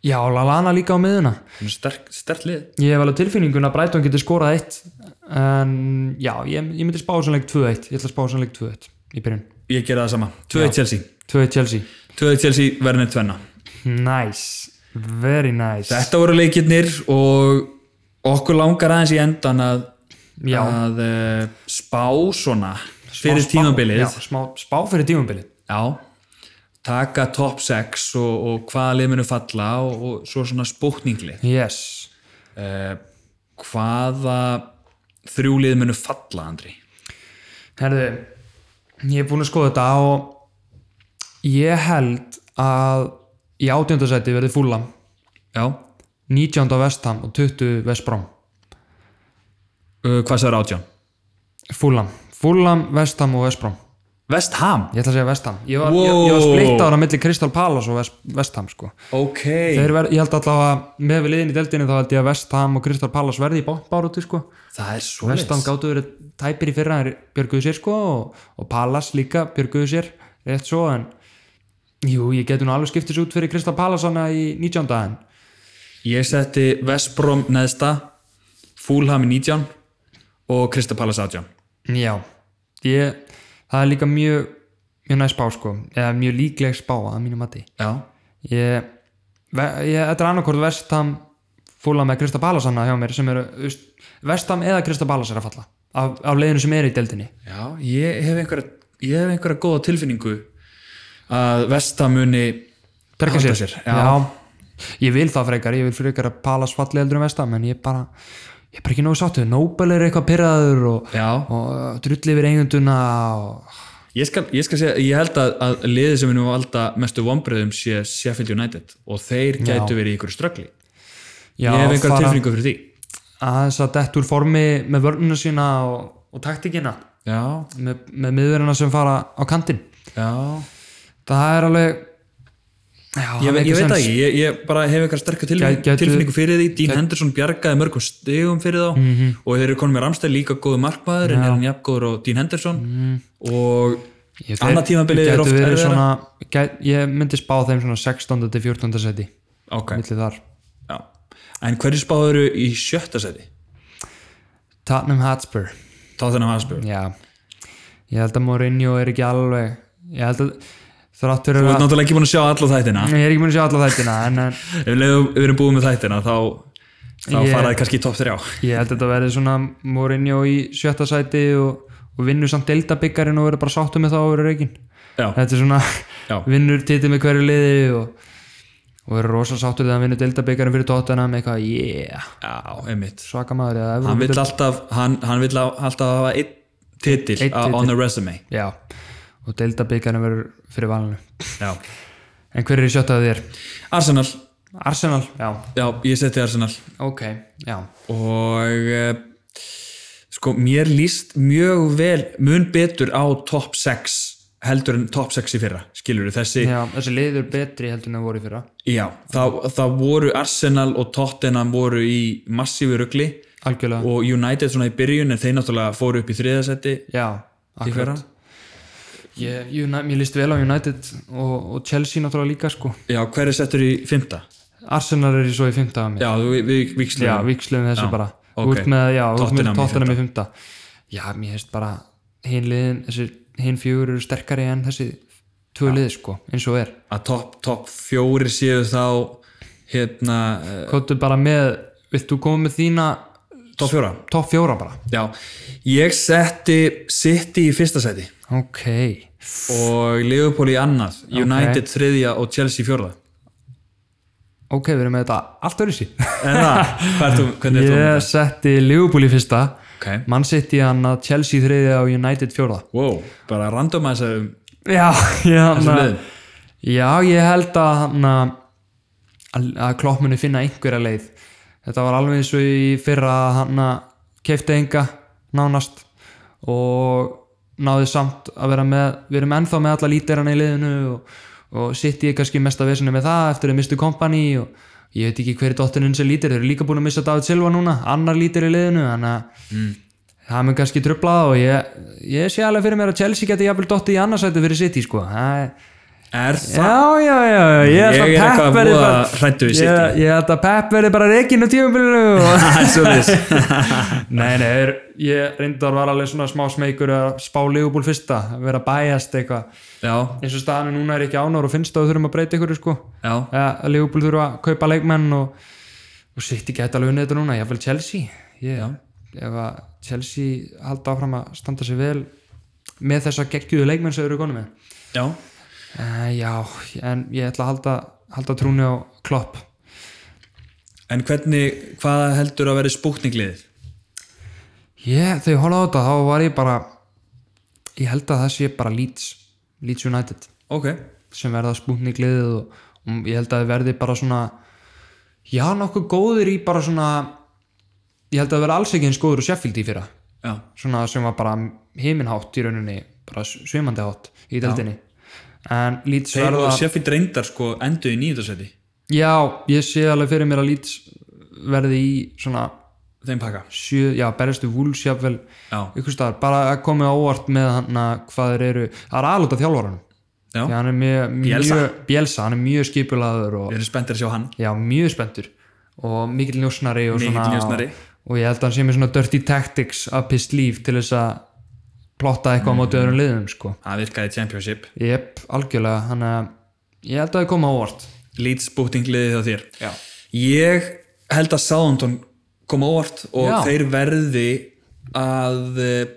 Speaker 2: já, Lallana líka á miðuna
Speaker 1: Þeir eru sterk, sterk lið
Speaker 2: Ég hef alveg tilfinningun að Brighton getur skorað eitt en já, ég, ég myndi spá sannleik 2-1, ég ætla að spá sannleik 2-1 í byrjun,
Speaker 1: ég gera það sama, 2-1 Chelsea
Speaker 2: 2-1 Chelsea
Speaker 1: 2-1 Chelsea verðinni tvenna
Speaker 2: Nice, very nice
Speaker 1: þetta voru leikirnir og okkur langar aðeins í endan að,
Speaker 2: Já.
Speaker 1: að uh, spá svona fyrir
Speaker 2: Smá spá-
Speaker 1: tímabilið
Speaker 2: já, smá, Spá fyrir tímabilið
Speaker 1: Já, taka top 6 og, og hvaða lið munu falla og, og svo svona spókninglið.
Speaker 2: Yes,
Speaker 1: Uh, hvaða þrjú lið munu falla, Andri?
Speaker 2: herðu Ég er búin að skoða þetta og ég held að í átjöndasæti verði fúlam
Speaker 1: Já.
Speaker 2: 19. vestam og 20. vestbróm
Speaker 1: Uh, hvað sér átján?
Speaker 2: fúlam, fúlam, vestam og vestbróm
Speaker 1: Vest Ham?
Speaker 2: Ég ætla að segja Vestham Ég var, wow. ég, ég var
Speaker 1: Wow.
Speaker 2: splittaður á milli Crystal Palace og Vest, Vestham sko.
Speaker 1: Ok.
Speaker 2: Þeir ver, Ég held allavega að með við liðin í deltinu þá held ég að Vestham og Crystal Palace verði í bárúti sko.
Speaker 1: Það er svo
Speaker 2: Vestham gáttu verið tæpir í fyrra þeir björguðu sér sko, og, og Palace líka björguðu sér rétt svo en jú, ég getur nú alveg skiptis út fyrir Crystal Palace hana í 19. en
Speaker 1: Ég setti Vest Brom neðsta, Fúlham í 19 og Kristapalas átján.
Speaker 2: Já, ég, það er líka mjög mjög næst spá sko, eða mjög líkleg spá að mínu mati
Speaker 1: Já.
Speaker 2: ég, ve- ég þetta er annarkort vestam fúla með Krista Balasanna hjá mér sem eru veist, vestam eða Krista Balas er að falla af, af leiðinu sem er í deildinni
Speaker 1: Já, ég hef einhverja, ég hef einhverja góða tilfinningu að Vesta muni
Speaker 2: Bjarga
Speaker 1: halda
Speaker 2: já.
Speaker 1: Já.
Speaker 2: ég vil það frekar, ég vil frekar að Balas falli eldur en vestam en ég bara ég er bara ekki nógu sáttu, Nobel er eitthvað pyrraður og,
Speaker 1: Já.
Speaker 2: og uh, drulli yfir eigunduna og
Speaker 1: Ég skal, ég skal segja, ég held að, að liðið sem munum valda mestu vonbröðum sé Sheffield United og þeir gætu verið í einhverju ströggli.
Speaker 2: já,
Speaker 1: ég hef einhverja
Speaker 2: fara
Speaker 1: tilfinningu fyrir því.
Speaker 2: aðeins að dett úr formi með vörnuna sína og, og taktikina
Speaker 1: Já,
Speaker 2: með, með miðurina sem fara á kantinn
Speaker 1: já.
Speaker 2: það er alveg já,
Speaker 1: Ég,
Speaker 2: það
Speaker 1: ve- ég
Speaker 2: meikar
Speaker 1: veit
Speaker 2: sens.
Speaker 1: það ekki, ég, ég bara hef einhverja sterkar tilfinningu,
Speaker 2: Gæ- Mhm. gætu-
Speaker 1: tilfinningu fyrir því. Dean Henderson bjargaði mörgum stegum fyrir þá og þeir eru konum með Ramstæð líka góðu markmaður en er hann jafngóður og Dean Henderson og
Speaker 2: Mhm. Ég-
Speaker 1: annað tímabilið er
Speaker 2: gætu
Speaker 1: oft
Speaker 2: verið
Speaker 1: erfiðara.
Speaker 2: svona, gæt, ég myndi spá þeim svona 16. til 14. seti
Speaker 1: Ok.
Speaker 2: milli þar
Speaker 1: Já. En hverju spáður í sjötta seti?
Speaker 2: Tottenham Hotspur
Speaker 1: Tottenham Hotspur
Speaker 2: já, ég held að Mourinho er ekki alveg ég held að þrátt fyrir
Speaker 1: Þú ert
Speaker 2: að
Speaker 1: náttúrulega ekki búin að sjá alla þættina
Speaker 2: ég er ekki múin að sjá alla þættina en, en
Speaker 1: Ef við leiðum- við erum búin með þættina þá, þá
Speaker 2: Ég-
Speaker 1: faraði kannski í topp 3
Speaker 2: ég held að þetta verði svona Mourinho í sjötta sæti og, og vinnur samt deildabikkarinn og verður bara sáttu með það og verður reikin
Speaker 1: Já,
Speaker 2: þetta er svona
Speaker 1: Já.
Speaker 2: vinnur titið með hverju liði og, og verður rosa sáttu þegar hann vinnur deildabikkarinn fyrir tóttuna með eitthvað yeah,
Speaker 1: já, einmitt
Speaker 2: svaka maður eða
Speaker 1: Hann
Speaker 2: Evrópu-
Speaker 1: vill alltaf, hann, hann vill á- alltaf hafa einn titil
Speaker 2: Einn
Speaker 1: á- on the resume
Speaker 2: já, og deildabikkarinn verður fyrir valinu
Speaker 1: Já.
Speaker 2: en hver er í sjötta þér?
Speaker 1: Arsenal,
Speaker 2: Arsenal, já,
Speaker 1: já, ég seti Arsenal
Speaker 2: ok já,
Speaker 1: og eh, sko, mér líst mjög vel, mun betur á topp 6 heldur en topp 6 í fyrra, skilur þessi
Speaker 2: já þessi liður betri heldur en það voru í fyrra
Speaker 1: Já, það, það voru Arsenal og Tottenham voru í massífu rugli
Speaker 2: algjörlega,
Speaker 1: og United svona í byrjun en þeir náttúrulega fóru upp í þriðasetti
Speaker 2: já,
Speaker 1: í
Speaker 2: akkurat
Speaker 1: fyrra.
Speaker 2: Ég, United, ég líst vel á United og, og Chelsea náttúrulega líka sko
Speaker 1: Já, hver er settur í fymta?
Speaker 2: Arsenal er í svo í fymta að mér
Speaker 1: Já, við, við vikslum.
Speaker 2: já viksluðum þessu
Speaker 1: Já,
Speaker 2: bara
Speaker 1: ok.
Speaker 2: út með, já, út með
Speaker 1: Tottenham í
Speaker 2: Tottenham í fymta já, mér hefst bara hinn liðin, þessi hinn fjögur eru sterkari en þessi tvö liði sko eins og er,
Speaker 1: Að topp top fjóri séu þá hérna, eh,
Speaker 2: kóttu bara með vilt þú koma með þína
Speaker 1: topp fjóra.
Speaker 2: topp fjóra bara,
Speaker 1: Já, ég setti City í fyrsta seti
Speaker 2: ok
Speaker 1: og Liverpool í annað, United þriðja og Chelsea fjórða.
Speaker 2: ok, við erum með þetta allt öðru sí
Speaker 1: En það, hvað er þú, hvernig er
Speaker 2: ég setti Liverpool í fyrsta
Speaker 1: þú? Ok,
Speaker 2: mann sitt í hann að Chelsea í þriðja og United fjórða
Speaker 1: wow, bara random að þessu
Speaker 2: já, já,
Speaker 1: þessum
Speaker 2: na,
Speaker 1: liðum.
Speaker 2: já ég held að hana, að klopp muni finna einhverja leið þetta var alveg eins og í fyrra að hann keifti enga nánast og náði samt að vera með við erum ennþá með alla lítirana í liðinu og, og sitt ég kannski mesta vesinu með það eftir að mistu kompani og ég veit ekki hverju dottirinn sem lítir, þeir eru líka búin að missa David Silva núna, annar lítir í liðinu þannig að það mun kannski trublað og ég, ég sé alveg fyrir mér að Chelsea geti jafnvel dottið í annarsæti fyrir City sko. Það er-
Speaker 1: Er það?
Speaker 2: Já, já, já, ég held
Speaker 1: Ég er
Speaker 2: að
Speaker 1: eitthvað
Speaker 2: Pep verði
Speaker 1: voða
Speaker 2: bara
Speaker 1: hræddur við
Speaker 2: ég, ég held að Pep verði bara reikinu tímabilinu og...
Speaker 1: Það er svo þess.
Speaker 2: Nei, nei, er, ég reyndar var alveg svona smá smeykur að spá Leopold fyrsta, að vera bæjast eitthvað
Speaker 1: Já,
Speaker 2: eins og staðan er núna er ekki ánár og finnst að við þurfum að breyta ykkur sko,
Speaker 1: já.
Speaker 2: ja, Leopold þurfa að kaupa leikmenn og, og sitt ekki að lögna þetta núna, jáfnvel Chelsea ég, ef að Chelsea halda áfram að standa sig vel með þessa geggjuðu leikmenn sem þau eru konum með
Speaker 1: Já,
Speaker 2: Uh, já, en ég ætla að halda, halda trúni á klopp.
Speaker 1: en hvernig, hvað heldur að vera spúkningliðið?
Speaker 2: Ég, þegar ég horfði á þetta, þá var ég bara, ég held að það sé bara Leeds, Leeds United,
Speaker 1: Ok,
Speaker 2: sem verða spúntni gleðið og, og ég held að það verði bara svona, já, nokkuð góðir í bara svona, ég held að það verði alls ekki eins góður og Sheffield í fyrra,
Speaker 1: já,
Speaker 2: svona sem var bara heiminhátt í rauninni, bara svimandi hátt í deldinni. En Leeds
Speaker 1: þeir
Speaker 2: verða...
Speaker 1: og Sheffield reyndar sko enduð í nýjöndarsæti,
Speaker 2: Já, ég sé alveg fyrir mér að Leeds verði í svona
Speaker 1: þeim pakka.
Speaker 2: sjö, já, berjastu vúls jafnvel
Speaker 1: Já,
Speaker 2: ykkur staðar, bara að komi óvart með hann að hvað þeir eru, það er aðlóta þjálfvaranum
Speaker 1: Já.
Speaker 2: því hann er mjög,
Speaker 1: Bielsa.
Speaker 2: mjög Bielsa, hann er mjög skipulaður og
Speaker 1: við erum spenntir að sjá hann.
Speaker 2: já, mjög spenntur og mikill njósnari og
Speaker 1: Mikill
Speaker 2: svona
Speaker 1: njósnari.
Speaker 2: og ég held að hann sé með svona dirty tactics up his sleeve til þess að plotta eitthvað á
Speaker 1: Mm.
Speaker 2: móti öðrum liðum sko.
Speaker 1: Það virkaði í Championship.
Speaker 2: Jep, algjörlega, hann að ég held að það koma óvart
Speaker 1: Leeds spúkningliðið hjá þér.
Speaker 2: Já.
Speaker 1: Ég held að Southampton koma óvart og
Speaker 2: Já.
Speaker 1: þeir verði að eh,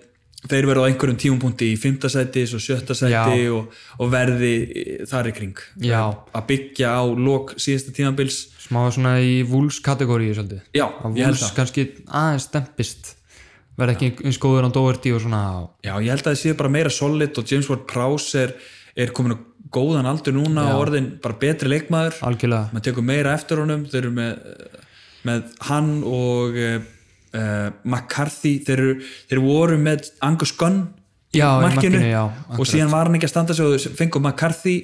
Speaker 1: þeir verði á einhverjum tímumpunkti í fymta sæti svo sjötta sæti
Speaker 2: Já.
Speaker 1: og, og verði eh, þar í kring
Speaker 2: Já.
Speaker 1: að byggja á lok síðasta tímabils
Speaker 2: smá svona í vúls kategóriu svolítið
Speaker 1: Já,
Speaker 2: að
Speaker 1: ég held
Speaker 2: vúls
Speaker 1: það
Speaker 2: kannski aðeins stempist verð ekki eins góður án Doherty og svona og
Speaker 1: Já, ég held að það sé bara meira solid og James Ward Prowse er, er komin á góðan aldur núna og orðin bara betri leikmaður
Speaker 2: algjörlega
Speaker 1: maður tekur meira eftir honum þeir eru með, með hann og uh, McCarthy þeir, eru, þeir voru með Angus Gunn í
Speaker 2: Já, í
Speaker 1: markinu,
Speaker 2: markinu, já,
Speaker 1: og síðan var hann ekki að standa sig og þau fengu McCarthy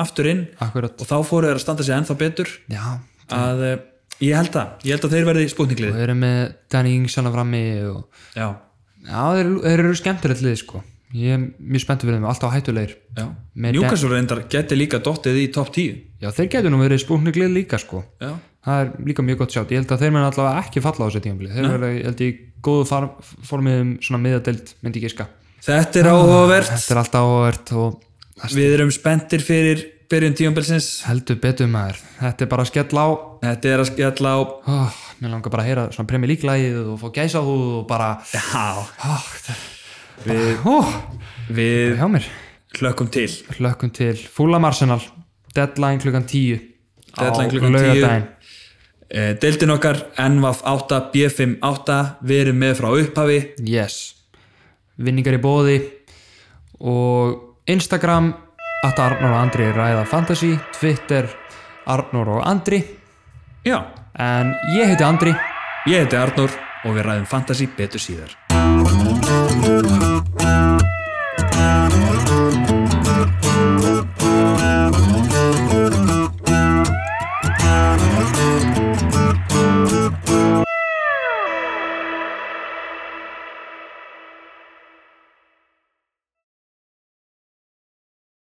Speaker 1: aftur inn
Speaker 2: Mhm. akkurat
Speaker 1: og þá fóru þeir að standa sig ennþá betur
Speaker 2: já
Speaker 1: að uh, ég held að, ég held að þeir verði spútninglið
Speaker 2: og þeir eru með Danny Ings hana frammi og
Speaker 1: já,
Speaker 2: já þeir, þeir eru skemmtilegt lið sko ég er mjög spenntur fyrir þeim alltaf hættulegir
Speaker 1: já.
Speaker 2: Með
Speaker 1: Newcastle reyndar geti líka dottið í topp 10
Speaker 2: já þeir getur nú verið spúknuglið líka sko
Speaker 1: já,
Speaker 2: það er líka mjög gott sjátt ég held að þeir menn allavega ekki falla á þessu tímabili þeir verða, ég held ég, góðu far, formið um svona miðadelt, myndi ég giska
Speaker 1: Þetta
Speaker 2: Ah,
Speaker 1: er áhugavert
Speaker 2: þetta er alltaf áhvert og
Speaker 1: Við erum spenntir fyrir byrjun tíumbelsins
Speaker 2: heldur betur maður þetta er bara að skella á
Speaker 1: Þetta er að skella á
Speaker 2: oh, mér langar bara að heyra svona premi líklægið og fá gæsa húð og bara
Speaker 1: Já,
Speaker 2: oh, það,
Speaker 1: við,
Speaker 2: oh,
Speaker 1: við
Speaker 2: hjá mér
Speaker 1: hlökkum til
Speaker 2: hlökkum til Fulham Arsenal deadline klukkan 10
Speaker 1: Deadline
Speaker 2: á
Speaker 1: klukkan 10.
Speaker 2: laugardaginn.
Speaker 1: Eh, Deildin okkar, NVAF 8, B58 Við erum með frá upphafi
Speaker 2: yes vinningar í bóði og Instagram at Arnór og Andri ræða fantasy Twitter Arnór og Andri
Speaker 1: Já,
Speaker 2: en ég heiti Andri
Speaker 1: ég heiti Arnór og við ræðum fantasy betur síðar